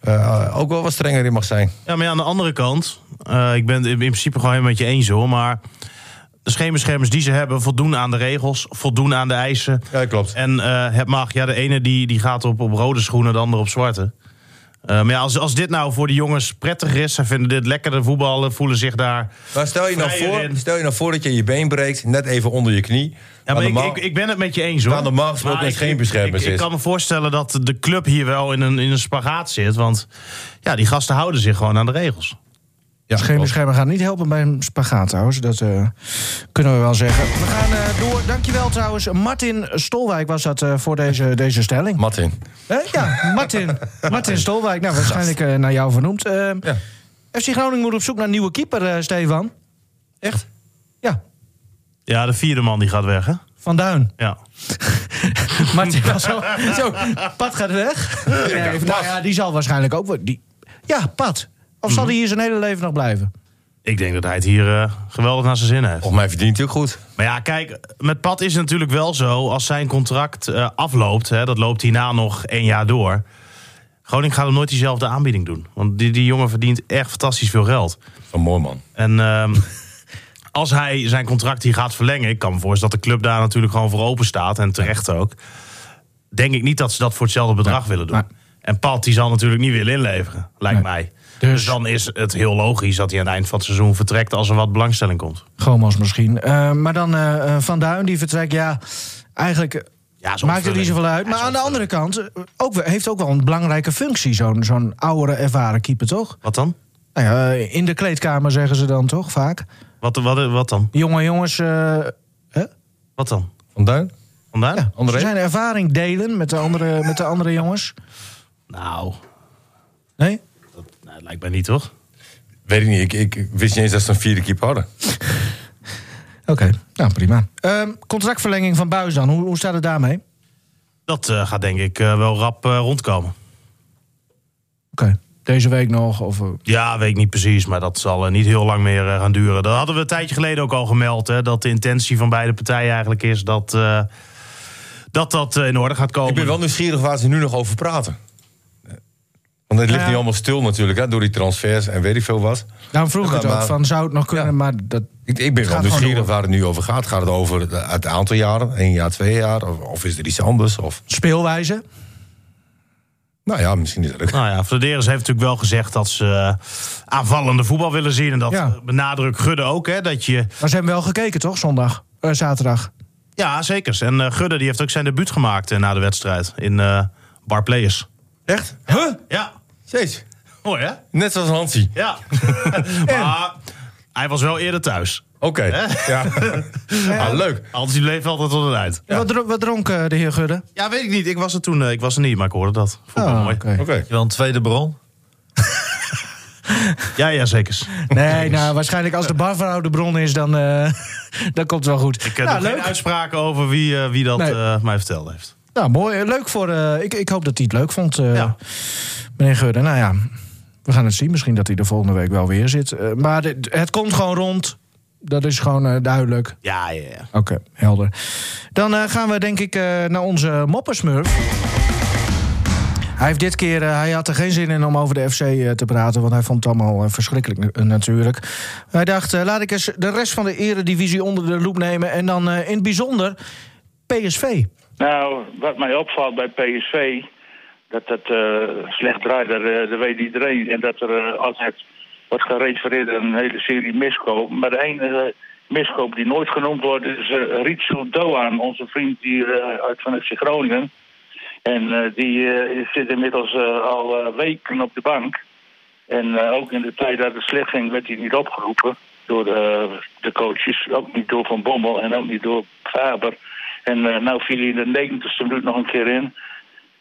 Speaker 4: eh, ook wel wat strenger in mag zijn.
Speaker 2: Ja, maar ja, aan de andere kant, eh, ik ben het in principe gewoon helemaal met je eens hoor, maar de scheenbeschermers die ze hebben voldoen aan de regels, voldoen aan de eisen.
Speaker 4: Ja, dat klopt.
Speaker 2: En eh, het mag, ja, de ene die, die gaat op, op rode schoenen, de andere op zwarte. Eh, maar ja, als, als dit nou voor de jongens prettiger is, ze vinden dit lekkerder voetballen, voelen zich daar...
Speaker 4: Maar stel je, nou
Speaker 2: Vrijer
Speaker 4: voor,
Speaker 2: in.
Speaker 4: stel je nou voor dat je je been breekt, net even onder je knie.
Speaker 2: Ja, maar
Speaker 4: Aan de
Speaker 2: ik,
Speaker 4: man-
Speaker 2: ik, ik ben het met je eens hoor.
Speaker 4: Waar normaal gesproken
Speaker 2: Maar
Speaker 4: een
Speaker 2: ik-
Speaker 4: scheenbeschermer
Speaker 2: ik, ik,
Speaker 4: is.
Speaker 2: kan me voorstellen dat de club hier wel in een, in een spagaat zit, want ja, die gasten houden zich gewoon aan de regels.
Speaker 4: ja,
Speaker 3: scheenbescherming gaat niet helpen bij een spagaat trouwens. Dat eh, kunnen we wel zeggen. We gaan eh, door. Dankjewel trouwens. Martin Stolwijk was dat eh, voor deze, deze stelling.
Speaker 4: Martin.
Speaker 3: Hè? Eh, Ja, Martin. Martin Stolwijk. Nou, waarschijnlijk eh, naar jou vernoemd. Eh,
Speaker 4: Ja.
Speaker 3: FC Groningen moet op zoek naar een nieuwe keeper, eh, Stefan.
Speaker 4: Echt?
Speaker 3: Ja,
Speaker 2: Ja, de vierde man die gaat weg hè?
Speaker 3: Van Duin.
Speaker 2: Ja.
Speaker 3: Martin was zo, zo. Pat gaat weg. Nee, nou ja, die zal waarschijnlijk ook... wel- Die, ja, Pat. Of
Speaker 2: Mhm.
Speaker 3: zal die hier zijn hele leven nog blijven?
Speaker 2: Ik denk dat hij het hier eh, geweldig naar zijn zin heeft.
Speaker 4: Volgens mij verdient hij ook goed.
Speaker 2: Maar ja, kijk, met Pat is het natuurlijk wel zo. Als zijn contract eh, afloopt, hè, dat loopt hierna nog één jaar door. Groningen gaat hem nooit diezelfde aanbieding doen. Want die, die jongen verdient echt fantastisch veel geld.
Speaker 4: Een mooi man.
Speaker 2: En ehm, als hij zijn contract hier gaat verlengen... ik kan me voorstellen dat de club daar natuurlijk gewoon voor open staat. En terecht ook. Denk ik niet dat ze dat voor hetzelfde bedrag willen doen. En Pat die zal natuurlijk niet willen inleveren, lijkt mij. Dus. dan is het heel logisch dat hij aan het eind van het seizoen vertrekt... als er wat belangstelling komt.
Speaker 3: Gomas misschien. Eh, maar dan eh, eh, Van Duin, die vertrekt. Ja, eigenlijk... eh,
Speaker 2: Ja, is
Speaker 3: Maakt het niet
Speaker 2: opvulling.
Speaker 3: zoveel uit. Maar aan de andere kant eh, ook, wel- heeft ook wel een belangrijke functie... zo'n zo'n oudere, ervaren keeper, toch?
Speaker 2: Wat dan?
Speaker 3: Nou ja, eh, in de kleedkamer zeggen ze dan toch vaak.
Speaker 2: Wat, wat, wat dan?
Speaker 3: jonge jongens. eh, hè?
Speaker 2: Wat dan?
Speaker 4: Van Duin?
Speaker 2: Vandaar?
Speaker 4: André?
Speaker 3: Ze zijn ervaring delen met de andere, met de andere jongens.
Speaker 2: Nou,
Speaker 3: Nee?
Speaker 2: dat nou, dat lijkt mij niet, toch?
Speaker 4: Weet ik niet. Ik, ik wist niet eens dat ze een vierde keeper hadden.
Speaker 3: Oké, nou prima. Ehm, contractverlenging van Buis dan, hoe, hoe staat het daarmee? Oké.
Speaker 2: Dat eh, gaat denk ik eh, wel rap eh, rondkomen.
Speaker 3: Deze week nog? Of, eh,
Speaker 2: Ja, weet ik niet precies, maar dat zal eh, niet heel lang meer eh, gaan duren. Dat hadden we een tijdje geleden ook al gemeld, hè, dat de intentie van beide partijen eigenlijk is dat eh, dat, dat eh, in orde gaat komen.
Speaker 4: Ik ben wel nieuwsgierig waar ze nu nog over praten. Want het ligt
Speaker 3: Ja.
Speaker 4: niet allemaal stil natuurlijk, hè, door die transfers en weet ik veel wat.
Speaker 3: daarom nou, vroeg ik
Speaker 4: Ja,
Speaker 3: het ook,
Speaker 4: maar-
Speaker 3: van zou het nog kunnen,
Speaker 4: Ja.
Speaker 3: maar dat...
Speaker 4: Ik, ik ben wel
Speaker 3: Gaat
Speaker 4: nieuwsgierig
Speaker 3: gewoon door.
Speaker 4: waar het nu over gaat. Gaat het over de- het aantal jaren? Eén jaar, twee jaar? Of, of is er iets anders? Of...
Speaker 3: Speelwijze?
Speaker 4: Nou ja, misschien is dat ook.
Speaker 2: Nou ja, Flederis heeft natuurlijk wel gezegd dat ze eh, aanvallende voetbal willen zien. En dat
Speaker 3: Ja.
Speaker 2: benadrukt Gudde ook, hè, dat je...
Speaker 3: Maar ze hebben wel gekeken, toch? Zondag, Eh, zaterdag.
Speaker 2: Ja, zeker. En eh, Gudde die heeft ook zijn debuut gemaakt eh, na de wedstrijd in eh Bar Players.
Speaker 4: Echt? Huh?
Speaker 2: Ja,
Speaker 4: Steeds.
Speaker 2: mooi hè?
Speaker 4: Net zoals Hansie.
Speaker 2: Ja. maar hij was wel eerder thuis.
Speaker 4: Oké. Ja. Ah, leuk.
Speaker 2: Anders die bleef altijd tot het eind.
Speaker 3: Wat, dro- wat dronk eh, de heer Gudde?
Speaker 2: Ja, weet ik niet. Ik was er toen, eh, ik was er niet, maar ik hoorde dat. Vond ik wel
Speaker 3: Ah,
Speaker 2: Oh, mooi.
Speaker 3: oké.
Speaker 4: Oké.
Speaker 1: Wel een tweede bron.
Speaker 2: Ja, ja, zeker.
Speaker 3: Nee, nou, waarschijnlijk als de barvrouw de bron is, dan, eh, dan komt het wel goed.
Speaker 2: Ik heb
Speaker 3: nou,
Speaker 2: nog geen
Speaker 3: leuk.
Speaker 2: uitspraken over wie, eh, wie dat
Speaker 3: Nee.
Speaker 2: eh, mij verteld heeft.
Speaker 3: nou, mooi. Eh, Leuk voor... eh, ik, ik hoop dat hij het leuk vond, eh,
Speaker 2: Ja.
Speaker 3: meneer Gudde. Nou ja, we gaan het zien. Misschien dat hij de volgende week wel weer zit. Eh, maar dit- het komt gewoon rond. Dat is gewoon eh, duidelijk.
Speaker 2: Ja, ja, ja.
Speaker 3: Oké, helder. Dan eh, gaan we denk ik eh, naar onze moppersmurf. Hij heeft dit keer, eh, hij had er geen zin in om over de FC eh, te praten, want hij vond het allemaal eh, verschrikkelijk nu- eh, natuurlijk. Hij dacht, eh, laat ik eens de rest van de eredivisie onder de loep nemen en dan eh, in het bijzonder PSV.
Speaker 5: Nou, wat mij opvalt bij PSV, dat dat eh, slecht draait, dat, eh, dat weet iedereen. En dat er eh, altijd wordt gerefereerd aan een hele serie miskopen. Maar de enige miskoop die nooit genoemd wordt is eh, Ritsu Doan, onze vriend hier eh, uit van FC Groningen. En eh, die eh, zit inmiddels eh, al eh, weken op de bank. En eh, ook in de tijd dat het slecht ging, werd hij niet opgeroepen door de, eh, de coaches. Ook niet door Van Bommel en ook niet door Faber. En eh, nou viel hij in de 90ste minuut nog een keer in.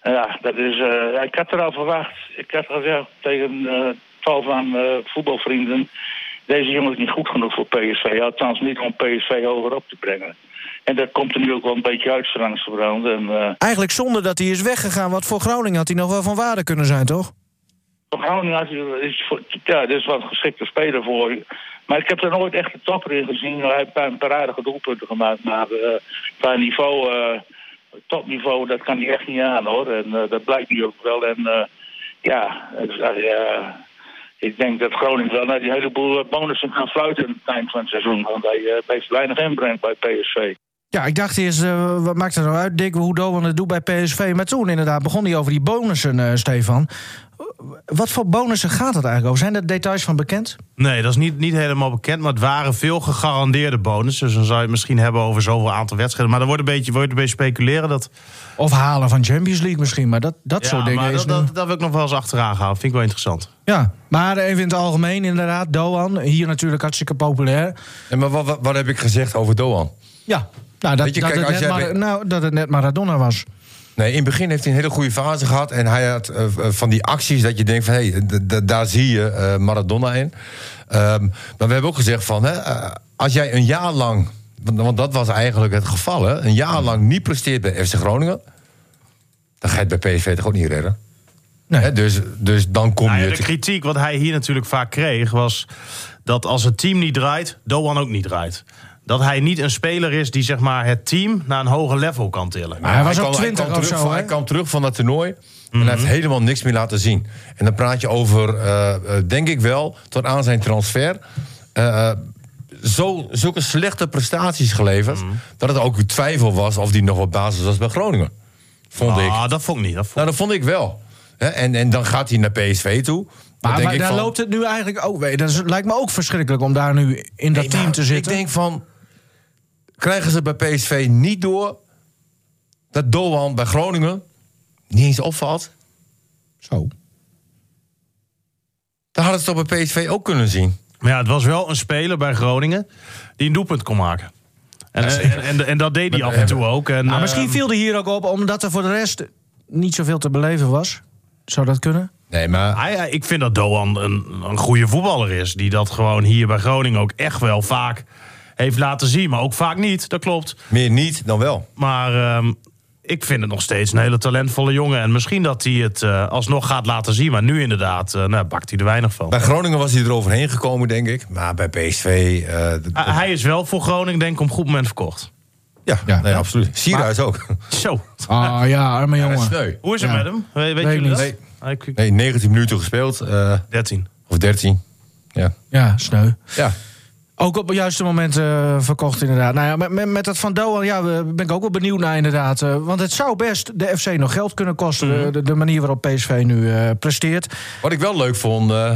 Speaker 5: Ja, dat is, eh, ik had er al verwacht. Ik had gezegd tegen eh tal van eh, voetbalvrienden... deze jongen is niet goed genoeg voor PSV. Althans niet om PSV hoger op te brengen. En dat komt er nu ook wel een beetje uit, zo langzamerhand. En, eh,
Speaker 3: Eigenlijk zonder dat hij is weggegaan, wat voor Groningen had hij nog wel van waarde kunnen zijn, toch?
Speaker 5: Van Groningen had- nou, is, voor- ja, dat is wel een geschikte speler voor je. Maar ik heb er nooit echt een topper in gezien. Hij heeft een paar- een paar aardige doelpunten gemaakt. Maar eh, qua niveau, eh, topniveau, dat kan hij echt niet aan hoor. En eh, dat blijkt nu ook wel. En eh, ja, dus, eh, ja, ik denk dat Groningen wel naar die heleboel eh, bonussen gaan fluiten aan het eind van het seizoen. Want hij eh, heeft weinig inbreng bij PSV.
Speaker 3: Ja, ik dacht eerst, eh, wat maakt het nou uit, Dick, hoe Doan het doet bij PSV? Maar toen inderdaad begon hij over die bonussen, eh, Stefan. Wat voor bonussen gaat het eigenlijk over? Zijn er details van bekend?
Speaker 2: Nee, dat is niet, niet helemaal bekend. Maar het waren veel gegarandeerde bonussen. Dus dan zou je het misschien hebben over zoveel aantal wedstrijden. Maar er wordt een beetje, wordt een beetje speculeren. Dat,
Speaker 3: Of halen van Champions League misschien, maar dat, dat soort dingen
Speaker 2: maar
Speaker 3: is
Speaker 2: dat,
Speaker 3: nu-
Speaker 2: dat, dat wil ik nog wel eens achteraan gaan. Vind ik wel interessant.
Speaker 3: Ja, maar even in het algemeen inderdaad, Doan, hier natuurlijk hartstikke populair.
Speaker 4: En maar wat, wat, wat heb ik gezegd over Doan?
Speaker 3: Ja, nou, dat,
Speaker 4: Weet je,
Speaker 3: dat,
Speaker 4: kijk,
Speaker 3: het,
Speaker 4: als
Speaker 3: net
Speaker 4: jij
Speaker 3: Mar-
Speaker 4: weet-
Speaker 3: nou, dat het net Maradona was.
Speaker 4: Nee, in het begin heeft hij een hele goede fase gehad. En hij had eh, v- van die acties dat je denkt van... hé, d- d- daar zie je eh, Maradona in. Ehm, maar we hebben ook gezegd van... Hè, eh, als jij een jaar lang... Want, want dat was eigenlijk het geval, hè. Een jaar lang niet presteert bij FC Groningen... dan ga je het bij PSV toch ook niet redden?
Speaker 3: Nee.
Speaker 4: Hè, dus, dus dan kom
Speaker 2: Nou ja,
Speaker 4: je...
Speaker 2: de
Speaker 4: te-
Speaker 2: kritiek wat hij hier natuurlijk vaak kreeg was dat als het team niet draait, Doan ook niet draait. Dat hij niet een speler is die zeg maar, het team naar een hoger level kan tillen.
Speaker 3: Maar hij was ook
Speaker 4: kwam- hij
Speaker 3: 20
Speaker 4: kwam
Speaker 3: of
Speaker 4: terug
Speaker 3: zo,
Speaker 4: van-
Speaker 3: hè? Mhm.
Speaker 4: Hij kwam terug van dat toernooi en hij heeft helemaal niks meer laten zien. En dan praat je over, eh, eh, denk ik wel, tot aan zijn transfer... eh, eh, zo, zulke slechte prestaties geleverd...
Speaker 3: Mhm.
Speaker 4: dat het ook twijfel was of die nog op basis was bij Groningen. Vond ik.
Speaker 2: Ah, dat vond ik niet. Dat vond
Speaker 4: Nou, dat vond ik wel. Hè, en, en dan gaat hij naar PSV toe. Dan
Speaker 3: Maar,
Speaker 4: denk
Speaker 3: maar
Speaker 4: ik
Speaker 3: daar
Speaker 4: van-
Speaker 3: loopt het nu eigenlijk ook weer. Dat is- lijkt me ook verschrikkelijk om daar nu in dat
Speaker 4: Nee,
Speaker 3: team
Speaker 4: maar
Speaker 3: te zitten.
Speaker 4: Ik denk van, krijgen ze bij PSV niet door... dat Doan bij Groningen niet eens opvalt...
Speaker 3: Zo.
Speaker 4: Dan hadden ze toch bij PSV ook kunnen zien.
Speaker 2: Maar ja, het was wel een speler bij Groningen die een doelpunt kon maken. En, en, en, en dat deed hij af en toe ook. En,
Speaker 4: Ah,
Speaker 3: Nou, misschien
Speaker 2: ehm,
Speaker 3: viel hij hier ook op omdat er voor de rest niet zoveel te beleven was. Zou dat kunnen?
Speaker 4: Nee, maar
Speaker 2: hij- hij- ik vind dat Doan een, een goede voetballer is. Die dat gewoon hier bij Groningen ook echt wel vaak heeft laten zien. Maar ook vaak niet, dat klopt.
Speaker 4: meer niet dan wel.
Speaker 2: Maar ehm, ik vind het nog steeds een hele talentvolle jongen. En misschien dat hij het eh, alsnog gaat laten zien. Maar nu inderdaad, eh, nou, bakt hij er weinig van.
Speaker 4: Bij Groningen was hij eroverheen gekomen, denk ik. Maar bij PSV... eh, d-
Speaker 2: Ah, hij is wel voor Groningen denk ik op een goed moment verkocht.
Speaker 4: ja,
Speaker 3: Ja.
Speaker 4: nee, absoluut. Sierhuis ook.
Speaker 2: Zo,
Speaker 3: Ah ja, arme
Speaker 4: Ja,
Speaker 3: jongen.
Speaker 4: sneu.
Speaker 2: hoe is het
Speaker 3: Ja.
Speaker 2: met hem? Weet, weet
Speaker 3: Weet
Speaker 2: jullie
Speaker 3: niet.
Speaker 2: dat?
Speaker 4: Nee.
Speaker 2: Hij- ik-
Speaker 4: Nee, 19 minuten gespeeld. eh,
Speaker 2: 13.
Speaker 4: of 13. Ja.
Speaker 3: Ja, sneu.
Speaker 4: ja.
Speaker 3: Ook op het juiste moment eh, verkocht, inderdaad. Nou ja, met, met, met dat Van Doan ja, we- ben ik ook wel benieuwd naar, inderdaad. Eh, want het zou best de FC nog geld kunnen kosten,
Speaker 4: Mhm.
Speaker 3: de- de, de manier waarop PSV nu eh, presteert.
Speaker 4: Wat ik wel leuk vond. eh,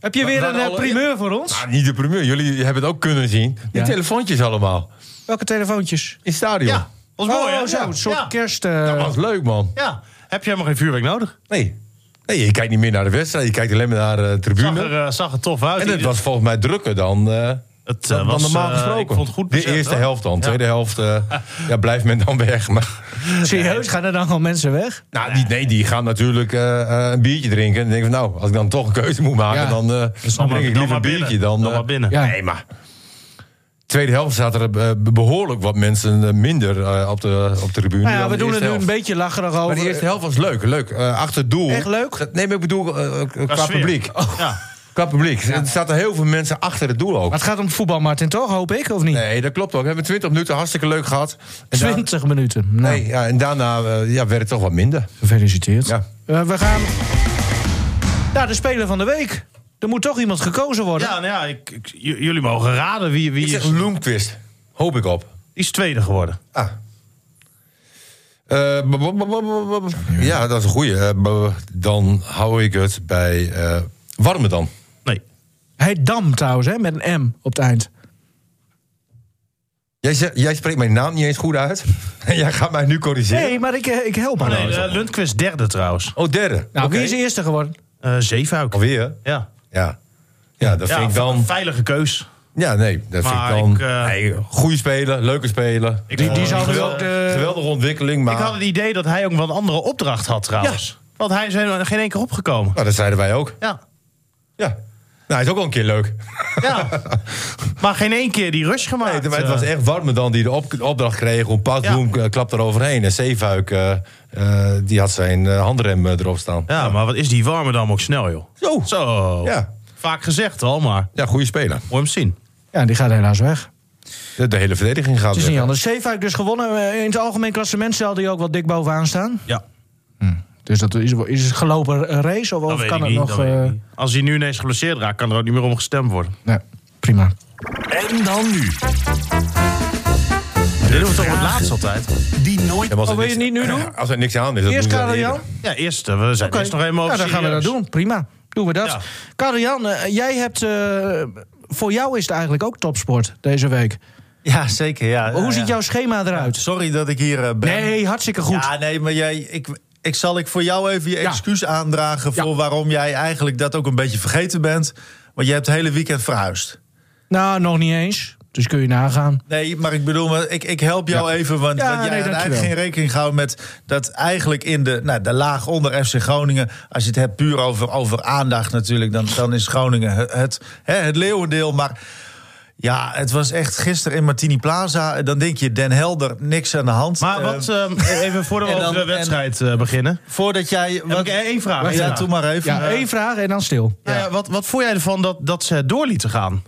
Speaker 3: Heb je weer
Speaker 4: Wa-
Speaker 3: een eh,
Speaker 4: waren alle-
Speaker 3: primeur voor ons?
Speaker 4: nou, niet de primeur, jullie hebben het ook kunnen zien. Die
Speaker 3: Ja.
Speaker 4: telefoontjes allemaal.
Speaker 3: Welke telefoontjes?
Speaker 4: In het stadion.
Speaker 2: Ja, was mooi,
Speaker 3: oh,
Speaker 2: hè?
Speaker 3: zo,
Speaker 2: Ja,
Speaker 3: een soort
Speaker 2: ja.
Speaker 3: kerst... eh,
Speaker 4: Dat was leuk, man.
Speaker 2: Ja, heb je helemaal geen vuurwerk nodig?
Speaker 4: Nee. nee, je kijkt niet meer naar de wedstrijd, je kijkt alleen maar naar de
Speaker 2: Zag
Speaker 4: tribune.
Speaker 2: er, eh, zag er tof uit.
Speaker 4: En het was volgens mij drukker dan, eh,
Speaker 2: Het, eh,
Speaker 4: dan, dan
Speaker 2: was,
Speaker 4: normaal
Speaker 2: eh,
Speaker 4: gesproken.
Speaker 2: ik vond het goed
Speaker 4: de
Speaker 2: bezet,
Speaker 4: eerste
Speaker 2: hoor.
Speaker 4: helft dan.
Speaker 2: Ja.
Speaker 4: Tweede helft eh, ja, blijft men dan weg. Maar,
Speaker 3: serieus, gaan er dan gewoon mensen weg?
Speaker 4: nou, die, nee, die gaan natuurlijk eh, eh, een biertje drinken. En dan denk ik van, nou, als ik dan toch een keuze moet maken...
Speaker 3: Ja.
Speaker 4: dan, eh, dan
Speaker 2: maar-
Speaker 4: drink ik
Speaker 2: dan
Speaker 4: liever
Speaker 2: maar
Speaker 4: een
Speaker 2: binnen.
Speaker 4: biertje dan...
Speaker 2: Dan
Speaker 4: eh,
Speaker 2: maar binnen.
Speaker 3: Ja.
Speaker 4: Nee, maar... Tweede helft zaten er eh, behoorlijk wat mensen eh, minder eh, op, de, op de tribune.
Speaker 3: Nou ja,
Speaker 4: dan
Speaker 3: we
Speaker 4: de
Speaker 3: doen het
Speaker 4: eerste
Speaker 3: nu een
Speaker 4: helft.
Speaker 3: beetje lacherig over.
Speaker 4: Maar de eerste helft was leuk, leuk. Eh, achter het doel.
Speaker 3: Echt leuk?
Speaker 4: Nee, maar ik bedoel eh, eh, qua
Speaker 2: sfeer. Oh.
Speaker 4: publiek.
Speaker 2: Ja.
Speaker 4: Qua publiek. Er zaten heel veel mensen achter het doel ook.
Speaker 3: Maar het gaat om voetbal, Martin, toch? Hoop ik, of niet?
Speaker 4: Nee, dat klopt ook. We hebben 20 minuten hartstikke leuk gehad. En daar-
Speaker 3: 20 minuten. Nou,
Speaker 4: nee, ja, en daarna eh, ja, werd het toch wat minder.
Speaker 3: gefeliciteerd.
Speaker 4: Ja.
Speaker 3: Eh, we gaan naar de Speler van de Week. Er moet toch iemand gekozen worden.
Speaker 2: Ja, nou ja, ik, ik- j- jullie mogen raden wie, wie
Speaker 4: Ik zeg
Speaker 2: is, die
Speaker 4: Loemquist. Hoop ik op.
Speaker 2: is tweede geworden.
Speaker 4: Ah. Eh, b- b- b- b- b- ja, dat is een goeie. Eh, b- dan hou ik het bij eh Warme dan. Oh,
Speaker 2: Nee.
Speaker 3: Hij Dam trouwens, hè, met een M op het eind.
Speaker 4: Jij, zegt- jij spreekt mijn naam niet eens goed uit. En jij gaat mij nu corrigeren.
Speaker 3: Nee, maar ik, eh, ik help haar.
Speaker 2: Nee,
Speaker 3: nou.
Speaker 2: eh, Lundqvist derde trouwens.
Speaker 4: Oh, derde.
Speaker 3: Nou,
Speaker 4: Oké.
Speaker 3: wie is de eerste geworden?
Speaker 2: Eh Zeefuik.
Speaker 4: Alweer?
Speaker 2: Ja.
Speaker 4: Ja. Ja, dat
Speaker 2: Ja,
Speaker 4: Oh, vind ik
Speaker 2: een
Speaker 4: dan...
Speaker 2: veilige keus.
Speaker 4: Ja, nee, dat vind ik
Speaker 2: Maar
Speaker 4: dan...
Speaker 2: ik, eh,
Speaker 4: nee, goede speler, leuke speler.
Speaker 2: Ik-
Speaker 4: Eh,
Speaker 2: die zouden
Speaker 4: geweld-
Speaker 2: ook
Speaker 3: de-
Speaker 4: Geweldige ontwikkeling, maar...
Speaker 2: Ik had het idee dat hij ook wel een andere opdracht had trouwens. Want hij is helemaal geen één keer opgekomen.
Speaker 4: Nou, dat zeiden wij ook.
Speaker 2: Ja.
Speaker 4: Ja. Nou, hij is ook wel een keer leuk.
Speaker 2: ja. maar geen één keer die rush gemaakt.
Speaker 4: Nee, maar het
Speaker 2: eh.
Speaker 4: was echt warme dan die de op- opdracht kreeg om Pauk
Speaker 2: Ja.
Speaker 4: Bloem eh, klapt eroverheen. En Zeefuik, eh, eh, die had zijn eh, handrem eh, erop staan.
Speaker 2: Ja, maar wat is die warme dan ook snel, joh.
Speaker 4: Zo.
Speaker 2: Zo.
Speaker 4: Ja.
Speaker 2: Vaak gezegd al, maar
Speaker 4: Ja, goede speler.
Speaker 2: moet je hem zien.
Speaker 3: Ja, die gaat helaas weg.
Speaker 4: De, de hele verdediging gaat
Speaker 3: Het is niet
Speaker 4: weg.
Speaker 3: anders. Zeefuik dus gewonnen. Eh, In het algemeen klassement zal die ook wel dik bovenaan staan.
Speaker 2: Ja,
Speaker 3: Dus dat is, is het gelopen eh, race of,
Speaker 2: dat
Speaker 3: of
Speaker 2: weet
Speaker 3: kan
Speaker 2: ik
Speaker 3: het
Speaker 2: niet,
Speaker 3: nog...
Speaker 2: dat weet ik
Speaker 3: eh,
Speaker 2: niet. Als hij nu ineens geblesseerd raakt, kan er ook niet meer om gestemd worden.
Speaker 3: nee, prima.
Speaker 6: En dan nu,
Speaker 2: Dit doen we toch het laatst altijd?
Speaker 6: die nooit
Speaker 4: En als
Speaker 3: Oh,
Speaker 4: er
Speaker 3: wil je
Speaker 4: niks-
Speaker 3: het niet nu doen?
Speaker 4: Als er niks aan is, dan
Speaker 3: Eerst
Speaker 4: doen we dat
Speaker 3: Karel Jan.
Speaker 4: eerder.
Speaker 2: Ja, eerst. eh, We zijn
Speaker 3: Oké.
Speaker 2: eerst nog even over
Speaker 3: Ja, dan gaan we dat
Speaker 2: serieus.
Speaker 3: doen. Prima. Doen we dat.
Speaker 2: Ja.
Speaker 3: Karel-Jan, eh, jij hebt... eh, voor jou is het eigenlijk ook topsport deze week.
Speaker 1: Ja, zeker. Ja,
Speaker 3: Hoe
Speaker 1: Ja,
Speaker 3: ziet
Speaker 1: ja.
Speaker 3: jouw schema eruit?
Speaker 1: Sorry dat ik hier eh, ben.
Speaker 3: Nee, hartstikke goed.
Speaker 1: Ja, nee, maar jij, ik, ik zal ik voor jou even je
Speaker 3: Ja.
Speaker 1: excuus aandragen...
Speaker 3: Ja.
Speaker 1: voor waarom jij eigenlijk dat ook een beetje vergeten bent. Want je hebt het hele weekend verhuisd.
Speaker 3: Nou, nog niet eens. Dus kun je nagaan.
Speaker 1: Nee, maar ik bedoel, maar ik, ik help jou even... want,
Speaker 3: Ja,
Speaker 1: want jij
Speaker 3: nee,
Speaker 1: had eigenlijk
Speaker 3: dankjewel.
Speaker 1: geen rekening gehouden met... dat eigenlijk in de, nou, de laag onder FC Groningen... als je het hebt puur over, over aandacht natuurlijk... dan, dan is Groningen het, het, hè, het leeuwendeel, maar... Ja, het was echt gisteren in Martini Plaza. Dan denk je, Den Helder, niks aan de hand.
Speaker 2: Maar
Speaker 1: Eh,
Speaker 2: wat, eh, even voordat we
Speaker 1: en
Speaker 2: over
Speaker 1: dan-
Speaker 2: de wedstrijd eh, beginnen.
Speaker 1: Voordat jij...
Speaker 2: Heb
Speaker 1: Wat,
Speaker 2: ik één vraag.
Speaker 1: ja, doe maar even. Eh,
Speaker 3: Ja, één vraag en dan stil.
Speaker 2: Nou ja, wat, wat vond jij ervan dat, dat ze het door lieten gaan?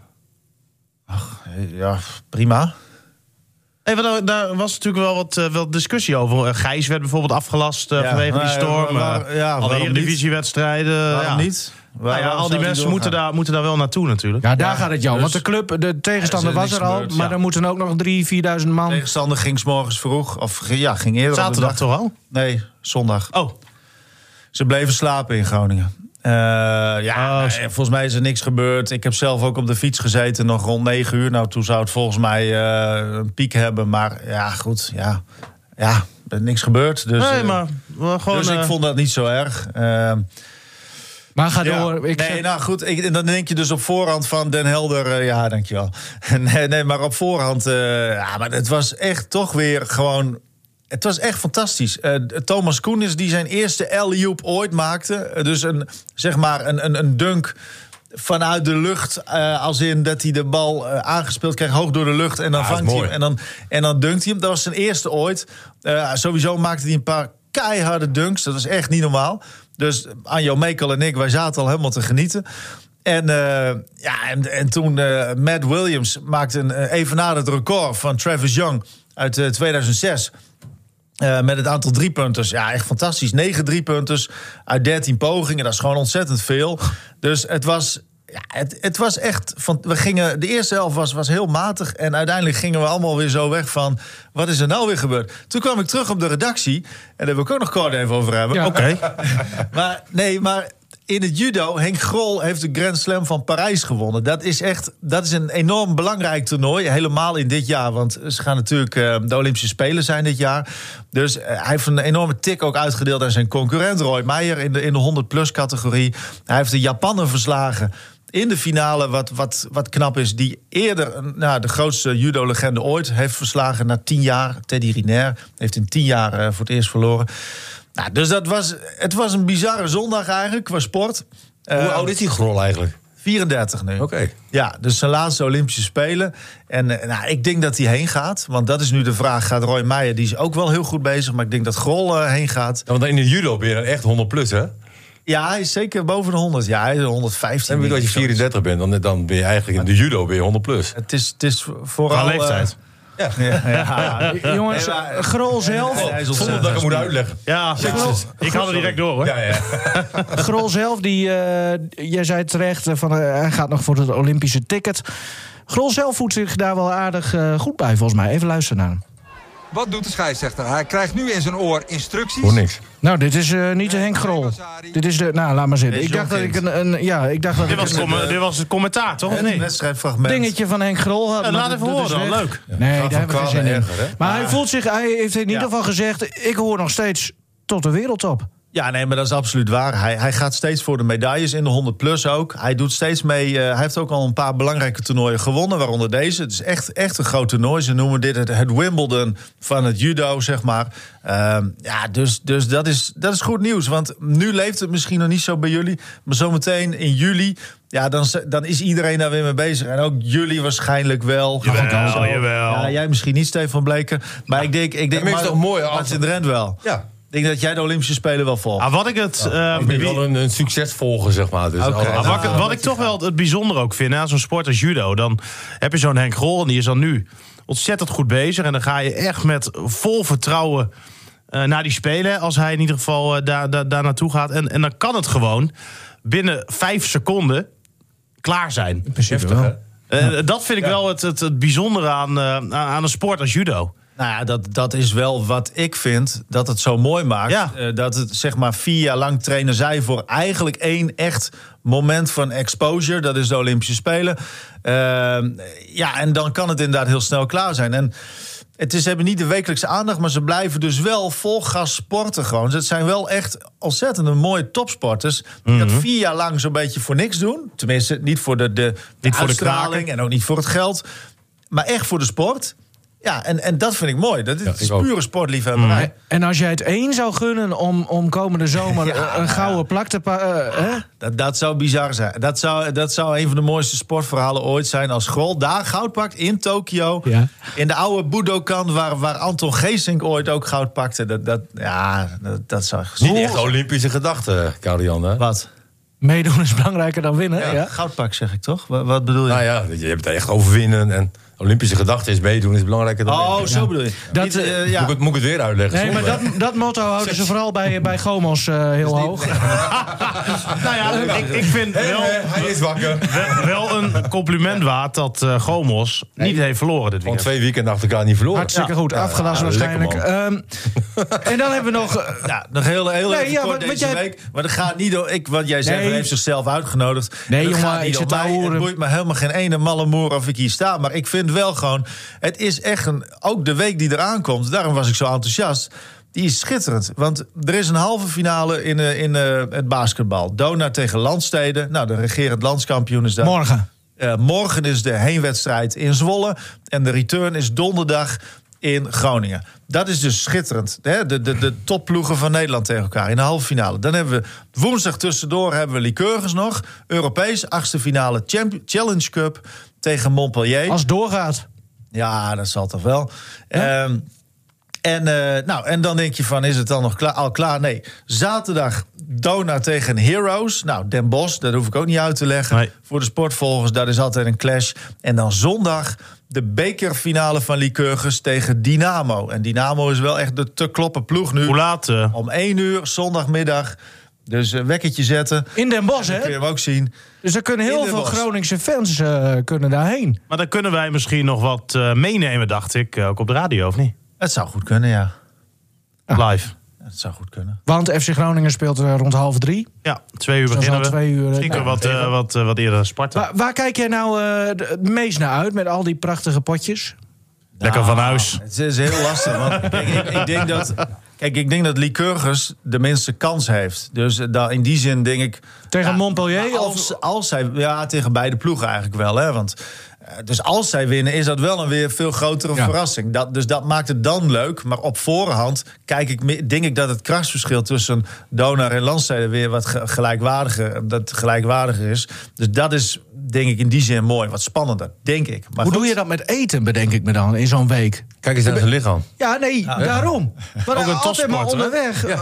Speaker 1: Ja, prima.
Speaker 2: Nee, want daar, daar was natuurlijk wel wat, eh, wel discussie over. Eh, Gijs werd bijvoorbeeld afgelast eh,
Speaker 1: Ja,
Speaker 2: vanwege die
Speaker 1: maar,
Speaker 2: storm.
Speaker 1: waar-
Speaker 2: eh,
Speaker 1: ja,
Speaker 2: alle
Speaker 1: waarom niet?
Speaker 2: Eredivisiewedstrijden.
Speaker 1: Waarom
Speaker 2: ja.
Speaker 1: niet?
Speaker 2: Nou ja, al die mensen moeten daar, moeten daar wel naartoe natuurlijk.
Speaker 3: Ja, daar gaat het jou.
Speaker 1: dus-
Speaker 3: Want de club, de tegenstander
Speaker 1: Er is
Speaker 3: was
Speaker 1: niks
Speaker 3: er al.
Speaker 1: gebeurd,
Speaker 3: maar
Speaker 1: ja.
Speaker 3: er moeten ook nog drie, vierduizend man.
Speaker 1: Tegenstander ging 's morgens vroeg, of ge- ja, ging eerder op de
Speaker 2: Zaterdag
Speaker 1: dag.
Speaker 2: toch al?
Speaker 1: Nee, zondag.
Speaker 2: Oh,
Speaker 1: Ze bleven slapen in Groningen. Eh, ja,
Speaker 2: Oh,
Speaker 1: eh,
Speaker 2: zo.
Speaker 1: volgens mij is er niks gebeurd. Ik heb zelf ook op de fiets gezeten, nog rond 9 uur. Nou, toen zou het volgens mij eh, een piek hebben. Maar ja, goed, ja. Ja, er is niks gebeurd. Dus,
Speaker 2: nee,
Speaker 1: eh,
Speaker 2: maar maar gewoon...
Speaker 1: dus ik
Speaker 2: eh,
Speaker 1: vond dat niet zo erg. Eh,
Speaker 3: Maar ga
Speaker 1: Ja.
Speaker 3: door. Ik,
Speaker 1: nee, nou goed, ik, en dan denk je dus op voorhand van Den Helder, eh, ja, dankjewel. nee, nee, maar op voorhand, eh, ja, maar het was echt toch weer gewoon... Het was echt fantastisch. Eh, Thomas Koenis die zijn eerste alley-oop ooit maakte. eh, dus een, zeg maar een, een, een dunk vanuit de lucht. eh, als in dat hij de bal eh, aangespeeld krijgt hoog door de lucht. En dan
Speaker 4: Ah, dat is
Speaker 1: vangt hij hem
Speaker 4: mooi.
Speaker 1: en dan, en dan dunkt hij hem. Dat was zijn eerste ooit. Eh, sowieso maakte hij een paar keiharde dunks. Dat was echt niet normaal. Dus Anjo Mekel en ik, wij zaten al helemaal te genieten. En, eh, ja, en, en toen eh, Matt Williams maakte een eh, evenaar het record van Travis Young uit eh, 2006. Eh, met het aantal driepunters. Ja, echt fantastisch. Negen driepunters uit dertien pogingen. Dat is gewoon ontzettend veel. Dus het was ja, het, het was echt. Van, we gingen, de eerste helft was, was heel matig. En uiteindelijk gingen we allemaal weer zo weg van. Wat is er nou weer gebeurd? Toen kwam ik terug op de redactie. En daar wil ik ook nog kort even over hebben.
Speaker 3: Ja.
Speaker 1: Oké. maar nee, maar. In het judo, Henk Grol heeft de Grand Slam van Parijs gewonnen. Dat is echt dat is een enorm belangrijk toernooi. Helemaal in dit jaar. Want ze gaan natuurlijk eh, de Olympische Spelen zijn dit jaar. Dus eh, hij heeft een enorme tik ook uitgedeeld aan zijn concurrent Roy Meijer in de, in de 100-plus categorie. Hij heeft de Japaner verslagen in de finale, wat, wat, wat knap is, die eerder eh, nou, de grootste judo-legende ooit heeft verslagen na tien jaar. Teddy Riner heeft in tien jaar eh, voor het eerst verloren. Nou, dus dat was, het was een bizarre zondag eigenlijk qua sport.
Speaker 4: Hoe
Speaker 1: Eh,
Speaker 4: oud is die grol eigenlijk?
Speaker 1: 34 nu.
Speaker 4: Oké.
Speaker 1: Ja, dus zijn laatste Olympische Spelen. En eh, nou, ik denk dat hij heen gaat. Want dat is nu de vraag. Gaat Roy Meijer, die is ook wel heel goed bezig. Maar ik denk dat Grol eh, heen gaat.
Speaker 4: Ja, want in de judo ben je dan echt 100 plus, hè?
Speaker 1: Ja, hij is zeker boven de 100. Ja, hij is 115.
Speaker 4: En bedoel, als je
Speaker 1: denk ik, zoiets.
Speaker 4: 34 bent, dan, dan ben je eigenlijk in de judo ben je 100 plus.
Speaker 1: Het is, het is vooral...
Speaker 2: Qua
Speaker 1: eh,
Speaker 2: leeftijd.
Speaker 1: ja, ja.
Speaker 3: Jongens,
Speaker 1: nou, Nee, maar-
Speaker 3: Grol zelf,
Speaker 1: hij is
Speaker 4: Zonder
Speaker 1: ontzettend
Speaker 4: dat ik het moet
Speaker 1: snel.
Speaker 4: uitleggen.
Speaker 2: Ja, ik had het direct door hoor.
Speaker 4: Ja, ja.
Speaker 3: Grol zelf, die, eh, jij zei terecht, eh, van, eh, hij gaat nog voor het Olympische ticket. Grol zelf voelt zich daar wel aardig eh, goed bij, volgens mij. Even luisteren naar hem.
Speaker 6: Wat doet de scheidsrechter? Hij krijgt nu in zijn oor instructies.
Speaker 4: Voor niks.
Speaker 3: Nou, dit is eh, niet de Henk Grol. Dit is de, nou, laat maar zitten.
Speaker 1: Dit
Speaker 3: Ik
Speaker 1: is
Speaker 3: dacht dat
Speaker 1: John
Speaker 3: ik een, een ja, ik dacht dat
Speaker 2: Dit
Speaker 3: ik
Speaker 2: was, het
Speaker 3: een
Speaker 2: com- dit was het commentaar, toch? Of
Speaker 1: Een
Speaker 2: niet?
Speaker 1: wedstrijdfragment.
Speaker 3: dingetje van Henk Grol had.
Speaker 2: Ja,
Speaker 3: maar
Speaker 2: laat
Speaker 3: dat-
Speaker 2: even
Speaker 3: dat
Speaker 2: horen
Speaker 3: is
Speaker 2: dan,
Speaker 3: weg.
Speaker 2: leuk.
Speaker 3: Nee, daar hebben we geen zin
Speaker 4: kwamen
Speaker 3: in.
Speaker 4: erger, hè?
Speaker 3: Maar hij voelt zich, hij heeft in ieder
Speaker 1: Ja.
Speaker 3: geval gezegd, ik hoor nog steeds tot de wereldtop.
Speaker 1: Ja, nee, maar dat is absoluut waar. Hij, hij gaat steeds voor de medailles in de 100 plus ook. Hij doet steeds mee. eh, hij heeft ook al een paar belangrijke toernooien gewonnen, waaronder deze. Het is echt, echt een groot toernooi. Ze noemen dit het, het Wimbledon van het judo, zeg maar. Ehm, ja, dus, dus dat, is, dat is goed nieuws. Want nu leeft het misschien nog niet zo bij jullie. Maar zometeen in juli, ja, dan, z- dan is iedereen daar weer mee bezig. En ook jullie waarschijnlijk wel.
Speaker 2: Jawel,
Speaker 1: Zo.
Speaker 2: jawel.
Speaker 1: Ja, jij misschien niet, Stefan Bleken. Maar ik denk, ik denk
Speaker 4: maar is toch mooi als-
Speaker 1: Martin Drent wel.
Speaker 4: Ja.
Speaker 1: Ik denk dat jij de Olympische Spelen wel volgt.
Speaker 2: Ah, wat ik het. eh,
Speaker 4: Ik ben
Speaker 2: wie-
Speaker 4: wel een, een succesvolger, zeg maar. Dus
Speaker 1: Oké.
Speaker 4: als-
Speaker 2: Maar
Speaker 4: als-
Speaker 2: wat, ik- wat ik toch wel het bijzonder ook vind aan zo'n sport als judo, dan heb je zo'n Henk Grol en die is dan nu ontzettend goed bezig. En dan ga je echt met vol vertrouwen eh, naar die spelen, als hij in ieder geval eh, daar, daar, daar naartoe gaat. En, en dan kan het gewoon binnen vijf seconden klaar zijn.
Speaker 4: Heftig, hè?
Speaker 2: Eh, Dat vind ik wel het, het, het bijzondere aan, eh, aan- aan een sport als judo.
Speaker 1: Nou ja, dat, dat is wel wat ik vind dat het zo mooi maakt.
Speaker 2: Ja.
Speaker 1: Eh, dat het zeg maar vier jaar lang trainen zij voor eigenlijk één echt moment van exposure. Dat is de Olympische Spelen. Ehm, ja, en dan kan het inderdaad heel snel klaar zijn. En het is, ze hebben niet de wekelijkse aandacht, maar ze blijven dus wel vol gas sporten gewoon. Dus het zijn wel echt ontzettend mooie topsporters. Die
Speaker 2: Mhm.
Speaker 1: dat vier jaar lang zo'n beetje voor niks doen. Tenminste, niet voor de, de,
Speaker 2: Niet voor de
Speaker 1: uitstraling
Speaker 2: kraken.
Speaker 1: en ook niet voor het geld. Maar echt voor de sport. Ja, en, en dat vind ik mooi. Dat is, het is
Speaker 4: ik ook.
Speaker 1: pure sportliefhebberij.
Speaker 3: En als jij het één zou gunnen om, om komende zomer eh, een gouden plak te pa- eh, hè?
Speaker 1: Dat, dat zou bizar zijn. Dat zou, dat zou een van de mooiste sportverhalen ooit zijn als Grol daar goud pakt in Tokio.
Speaker 3: Ja.
Speaker 1: In de oude Budokan waar, waar Anton Geesink ooit ook goud pakte. Dat, dat, ja, dat, dat zou...
Speaker 4: Niet echt Olympische gedachten, Karian. hè?
Speaker 1: Wat?
Speaker 3: meedoen is belangrijker dan winnen. Ja.
Speaker 1: Goud pak zeg ik toch? Wat, wat bedoel je?
Speaker 4: Nou ja, je hebt het echt overwinnen. En Olympische gedachten is meedoen, is belangrijker dan...
Speaker 1: Oh,
Speaker 4: winnen.
Speaker 1: zo bedoel je.
Speaker 3: Dat,
Speaker 1: Niet, eh,
Speaker 3: eh,
Speaker 1: ja.
Speaker 4: Moet, ik het, moet ik het weer uitleggen?
Speaker 3: Nee, maar
Speaker 4: Zonde,
Speaker 3: dat, dat motto houden ze vooral bij, bij Gomos eh, heel hoog.
Speaker 2: Nou ja, ik, ik vind
Speaker 4: hè?
Speaker 2: wel,
Speaker 4: Hé, hé, eh, Hij is wakker.
Speaker 2: wel, wel een compliment waard dat eh, Gomos niet heeft verloren dit
Speaker 4: Van
Speaker 2: weekend.
Speaker 4: twee weekenden achter elkaar niet verloren.
Speaker 3: Hartstikke goed, afgelast
Speaker 4: ja,
Speaker 3: waarschijnlijk.
Speaker 4: lekker,
Speaker 3: Ehm, en dan hebben we nog... eh,
Speaker 1: Ja, nog heel, heel
Speaker 3: Nee,
Speaker 1: even
Speaker 3: ja,
Speaker 1: kort
Speaker 3: want- want
Speaker 1: deze
Speaker 3: jij-
Speaker 1: week. Maar dat gaat niet door... Ik, want jij zegt,
Speaker 3: Nee.
Speaker 1: hij heeft zichzelf uitgenodigd.
Speaker 3: Nee,
Speaker 1: En dat
Speaker 3: jongen,
Speaker 1: gaat niet
Speaker 3: ik
Speaker 1: om
Speaker 3: zit te
Speaker 1: mij.
Speaker 3: horen.
Speaker 1: Het boeit me helemaal geen ene malle moer of ik hier sta. Maar ik vind wel gewoon... Het is echt een... Ook de week die eraan komt, daarom was ik zo enthousiast... Die is schitterend. Want er is een halve finale in, eh, in eh, het basketbal. Dona tegen Landsteden. Nou, de regerend landskampioen is daar.
Speaker 3: Morgen.
Speaker 1: Eh, morgen is de heenwedstrijd in Zwolle. En de return is donderdag in Groningen. Dat is dus schitterend. Hè? De, de, de topploegen van Nederland tegen elkaar in de halve finale. Dan hebben we woensdag tussendoor hebben we Lycurgus nog. Europees, achtste finale Champ- Challenge Cup tegen Montpellier.
Speaker 3: Als het doorgaat.
Speaker 1: Ja, dat zal toch wel. Ehm, en, eh, nou, en dan denk je van, is het dan nog klaar, al klaar? Nee, zaterdag Dona tegen Heroes. Nou, Den Bosch, dat hoef ik ook niet uit te leggen.
Speaker 2: Nee.
Speaker 1: Voor de sportvolgers, dat is altijd een clash. En dan zondag de bekerfinale van Lycurgus tegen Dynamo. En Dynamo is wel echt de te kloppen ploeg nu.
Speaker 2: Hoe laat? eh,
Speaker 1: Om 1 uur zondagmiddag. Dus een wekkertje zetten.
Speaker 3: In Den Bosch,
Speaker 1: Dat kun je
Speaker 3: hè?
Speaker 1: hem ook zien.
Speaker 3: Dus daar kunnen
Speaker 1: In
Speaker 3: heel
Speaker 1: Den
Speaker 3: veel
Speaker 1: Bosch.
Speaker 3: Groningse fans eh, kunnen daarheen.
Speaker 2: Maar dan kunnen wij misschien nog wat eh, meenemen, dacht ik. eh, Ook op de radio, of niet?
Speaker 1: Het zou goed kunnen, ja.
Speaker 2: Live.
Speaker 1: Het zou goed kunnen.
Speaker 3: Want FC Groningen speelt eh, rond half drie.
Speaker 2: Ja, twee uur
Speaker 3: dat is
Speaker 2: beginnen we.
Speaker 3: al twee uur, eh,
Speaker 2: Misschien kunnen we wat, eh, wat, eh, wat eerder naar Sparta.
Speaker 3: Waar, waar kijk jij nou eh, d- het meest naar uit met al die prachtige potjes?
Speaker 2: Lekker van huis.
Speaker 1: Het is heel lastig. Want kijk, ik, ik denk dat, kijk, ik denk dat Lycurgus de minste kans heeft. Dus eh, daar- in die zin denk ik...
Speaker 3: Tegen
Speaker 1: Ja,
Speaker 3: Montpellier?
Speaker 1: maar
Speaker 3: Of,
Speaker 1: Als, als zij, ja, tegen beide ploegen eigenlijk wel. Hè? Want, eh, dus als zij winnen, is dat wel een weer veel grotere
Speaker 4: Ja.
Speaker 1: verrassing. Dat, dus dat maakt het dan leuk. Maar op voorhand kijk ik, me- denk ik dat het krachtsverschil tussen Donar en Landstede weer wat ge- gelijkwaardiger, dat gelijkwaardiger is. Dus dat is denk ik in die zin mooi. Wat spannender, denk ik. Maar
Speaker 3: hoe
Speaker 1: goed.
Speaker 3: doe je dat met eten, bedenk ik me dan, in zo'n week?
Speaker 4: Kijk eens naar zijn lichaam.
Speaker 3: Ja, nee, daarom. Maar
Speaker 2: Ook een
Speaker 3: altijd maar
Speaker 2: topsporter, hè?
Speaker 3: onderweg. eh,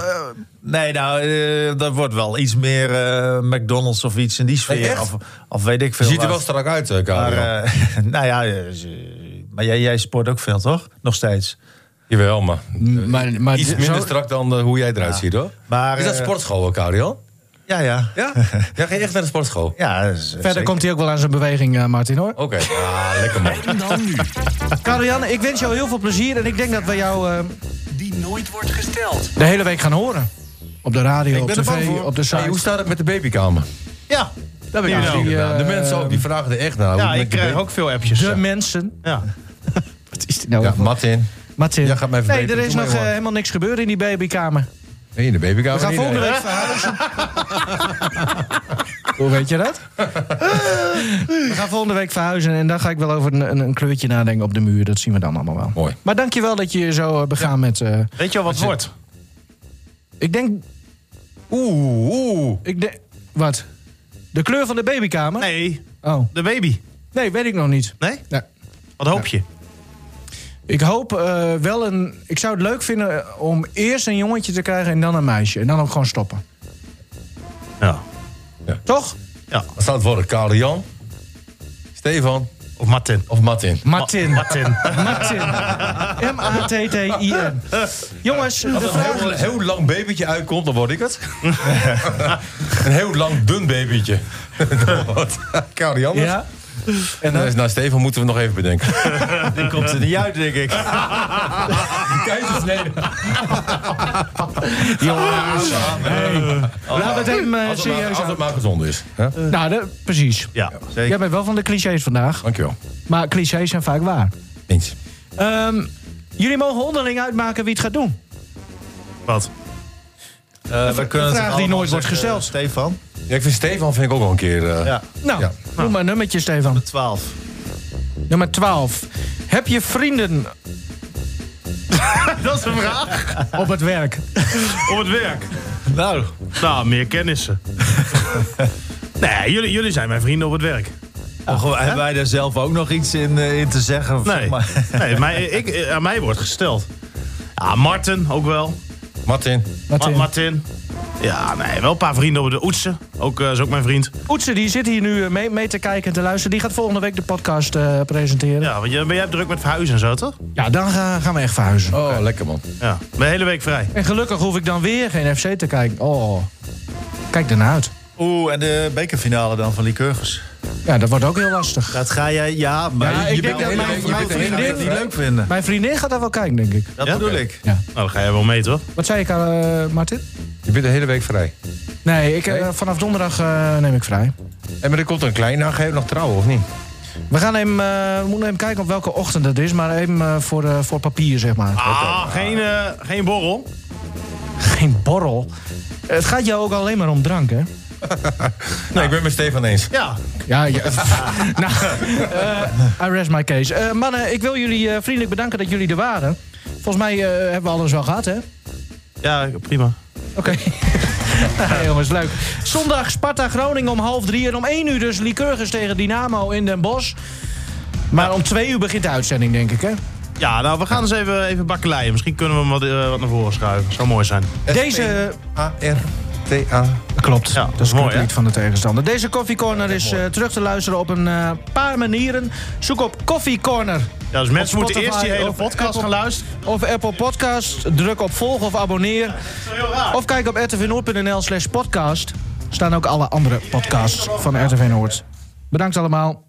Speaker 1: Nee, nou, eh, dat wordt wel iets meer eh, McDonald's of iets in die sfeer.
Speaker 4: echt?
Speaker 1: of, of weet ik
Speaker 4: Je
Speaker 1: veel.
Speaker 4: ziet er wel
Speaker 1: wat.
Speaker 4: strak uit, eh,
Speaker 1: Maar,
Speaker 4: Karel.
Speaker 1: eh, nou ja, eh, z- maar jij, jij sport ook veel, toch? Nog steeds.
Speaker 4: Jawel, maar
Speaker 3: Mm, maar, maar
Speaker 4: Eh, iets
Speaker 3: d-
Speaker 4: minder
Speaker 3: zo-
Speaker 4: strak dan eh, hoe jij eruit ziet, hoor.
Speaker 1: Maar,
Speaker 4: is dat
Speaker 1: eh,
Speaker 4: sportschool ook, Karel?
Speaker 1: Ja, ja.
Speaker 4: Ja? ja, ga je echt naar de sportschool? Oké.
Speaker 1: ja dat is-
Speaker 3: Verder
Speaker 1: zeker.
Speaker 3: komt hij ook wel aan zijn beweging, eh, Martin, hoor.
Speaker 4: Ah, lekker man.
Speaker 7: Dan nu,
Speaker 3: Karel-Jan, ik wens jou heel veel plezier. En ik denk dat we jou eh,
Speaker 7: die nooit wordt gesteld.
Speaker 3: de hele week gaan horen. Op de radio, op
Speaker 1: ben er bang
Speaker 3: tv,
Speaker 1: voor.
Speaker 3: op de
Speaker 4: Hey, hoe
Speaker 3: site.
Speaker 4: staat het met de babykamer?
Speaker 1: Ja.
Speaker 3: Daar ben ik
Speaker 2: Nou,
Speaker 3: aan. Die, eh,
Speaker 4: de mensen ook, die vragen er echt naar. Hoe
Speaker 2: Ja,
Speaker 4: het met
Speaker 2: ik eh,
Speaker 4: de
Speaker 2: krijg
Speaker 4: baby-
Speaker 2: ook veel appjes.
Speaker 3: De
Speaker 2: ja.
Speaker 3: mensen.
Speaker 2: Ja.
Speaker 3: Wat is dit nou?
Speaker 4: Ja,
Speaker 3: voor-
Speaker 4: Martin.
Speaker 3: Martin.
Speaker 4: jij gaat mij
Speaker 3: nee,
Speaker 4: verbeteren.
Speaker 3: er is
Speaker 4: Doe maar,
Speaker 3: nog eh,
Speaker 4: jongen.
Speaker 3: helemaal niks gebeurd in die babykamer.
Speaker 4: Nee, in de babykamer.
Speaker 3: We gaan
Speaker 4: niet,
Speaker 3: volgende
Speaker 4: nee.
Speaker 3: week verhuizen. Hoe weet je dat? We gaan volgende week verhuizen en dan ga ik wel over een, een, een kleurtje nadenken op de muur. Dat zien we dan allemaal wel.
Speaker 4: Mooi.
Speaker 3: Maar dankjewel dat je je zo eh, begaan met... eh,
Speaker 2: Weet je al wat het wordt?
Speaker 3: ik denk...
Speaker 4: Oeh, oeh.
Speaker 3: Ik denk wat? De kleur van de babykamer?
Speaker 2: Nee,
Speaker 3: Oh.
Speaker 2: de baby.
Speaker 3: Nee, weet ik nog niet.
Speaker 2: Nee?
Speaker 3: Nee.
Speaker 2: Wat hoop je?
Speaker 3: Ik hoop eh, wel een... Ik zou het leuk vinden eh, om eerst een jongetje te krijgen en dan een meisje. En dan ook gewoon stoppen.
Speaker 2: Ja.
Speaker 3: Toch?
Speaker 4: Wat staat het worden? Karel Jan, Stefan
Speaker 2: Of Martin.
Speaker 4: of Martin?
Speaker 3: Martin.
Speaker 2: Martin.
Speaker 3: Martin. M-A-T-T-I-N. Jongens, de
Speaker 4: Als er
Speaker 3: vraag...
Speaker 4: een heel, heel lang babytje uitkomt, dan word ik het. een heel lang, dun babytje. Dan wordt Karel Jan. het.
Speaker 3: Ja?
Speaker 4: En dan is nou, Stefan moeten we nog even bedenken.
Speaker 1: Die komt er niet uit, denk ik.
Speaker 4: Keizersnede.
Speaker 3: Jongens. Laten we het hem eh,
Speaker 4: Als het maar-
Speaker 3: serieus
Speaker 4: als het
Speaker 3: houden.
Speaker 4: maar gezond is. hè?
Speaker 3: Nou, de- precies.
Speaker 2: Ja.
Speaker 1: Zeker.
Speaker 3: Jij bent wel van de clichés vandaag.
Speaker 4: Dankjewel.
Speaker 3: Maar clichés zijn vaak waar.
Speaker 4: Eens.
Speaker 3: Ehm, jullie mogen onderling uitmaken wie het gaat doen.
Speaker 2: Wat?
Speaker 1: Eh, we kunnen het
Speaker 3: vraag die
Speaker 1: allemaal
Speaker 3: nooit wordt
Speaker 1: zeggen,
Speaker 3: gesteld.
Speaker 1: Stefan.
Speaker 4: Ja, ik vind Stefan vind ik ook wel een keer... eh,
Speaker 1: Ja.
Speaker 3: Nou,
Speaker 4: Ja.
Speaker 3: noem maar een nummertje, Stefan.
Speaker 1: 12.
Speaker 3: Nummer 12. Heb je vrienden
Speaker 2: Dat is een vraag.
Speaker 3: op het werk?
Speaker 2: Op het werk.
Speaker 1: Nou,
Speaker 2: Nou, meer kennissen. nee, jullie, jullie zijn mijn vrienden op het werk.
Speaker 1: mogen we- hebben wij daar zelf ook nog iets in, eh, in te zeggen? Of zeg
Speaker 2: Nee,
Speaker 1: maar-
Speaker 2: nee mij, ik, eh, aan mij wordt gesteld. Ja, Martin ook wel.
Speaker 4: Martin.
Speaker 2: Martin.
Speaker 3: Martin.
Speaker 2: Martin. Ja, nee, wel een paar vrienden op de Oetsen. Ook, eh, is ook mijn vriend.
Speaker 3: Oetsen, die zit hier nu eh, mee, mee te kijken en te luisteren. Die gaat volgende week de podcast eh, presenteren. Ja,
Speaker 2: Ja, want jij, maar jij hebt druk met verhuizen en zo, toch?
Speaker 3: dan ga- gaan we echt verhuizen.
Speaker 4: Oh, lekker man.
Speaker 2: Ja, ben de hele week vrij. Nou,
Speaker 3: En gelukkig hoef ik dan weer geen FC te kijken. Oh, kijk ernaar uit.
Speaker 1: Oeh, en de bekerfinale dan van Lycurgus.
Speaker 3: Ja, dat wordt ook heel lastig.
Speaker 1: Dat ga jij, ja, maar
Speaker 3: Ja,
Speaker 1: je-
Speaker 3: ik
Speaker 1: je
Speaker 3: denk
Speaker 1: bent-
Speaker 3: dat mijn-
Speaker 1: je bent-
Speaker 3: mijn
Speaker 1: je bent-
Speaker 3: vriendin-
Speaker 1: gaat het niet leuk vinden.
Speaker 3: Mijn vriendin gaat daar wel kijken, denk ik.
Speaker 1: Dat
Speaker 2: Ja?
Speaker 1: bedoel
Speaker 2: Oké.
Speaker 1: ik.
Speaker 2: Nou, dan ga jij wel mee, toch?
Speaker 3: Wat zei ik, eh Martin?
Speaker 4: Je bent de hele week vrij.
Speaker 3: Nee, ik, eh, vanaf donderdag eh, neem ik vrij.
Speaker 4: En maar er komt een klein, nou ga je nog trouwen of niet?
Speaker 3: We gaan hem, eh, we moeten hem kijken op welke ochtend het is, maar even eh, voor, eh, voor papier, zeg maar.
Speaker 2: Ah, geen, eh, geen borrel.
Speaker 3: Geen borrel. Het gaat jou ook alleen maar om drank, hè?
Speaker 4: Nee, ik ben met Stefan eens.
Speaker 2: Ja,
Speaker 3: Ja, ja. nou, eh, I rest my case. Eh, mannen, ik wil jullie eh, vriendelijk bedanken dat jullie er waren. Volgens mij eh, hebben we alles wel gehad, hè?
Speaker 2: ja prima.
Speaker 3: Oké. nou, jongens, leuk. Zondag Sparta Groningen om half drie. En om één uur dus Lycurgus tegen Dynamo in Den Bosch. Maar om twee uur begint de uitzending, denk ik, hè?
Speaker 2: Ja, nou, we gaan eens even, even bakkeleien. Misschien kunnen we hem wat, eh, wat naar voren schuiven. Zou mooi zijn.
Speaker 3: Deze...
Speaker 4: AR. TA.
Speaker 3: Klopt,
Speaker 2: Ja,
Speaker 3: dat is
Speaker 2: mooi,
Speaker 3: mooi,
Speaker 2: hè?
Speaker 3: niet van de tegenstander. Deze koffiecorner is eh, terug te luisteren op een eh, paar manieren. Zoek op koffiecorner
Speaker 2: Ja, dus mensen
Speaker 3: Op
Speaker 2: moeten
Speaker 3: Spotify
Speaker 2: eerst die hele
Speaker 3: of
Speaker 2: podcast
Speaker 3: Apple.
Speaker 2: gaan luisteren.
Speaker 3: of Apple Podcast. Druk op volg of abonneer. Of kijk op rtvnoord.nl slash podcast. Staan ook alle andere podcasts van RTV Noord. Bedankt allemaal.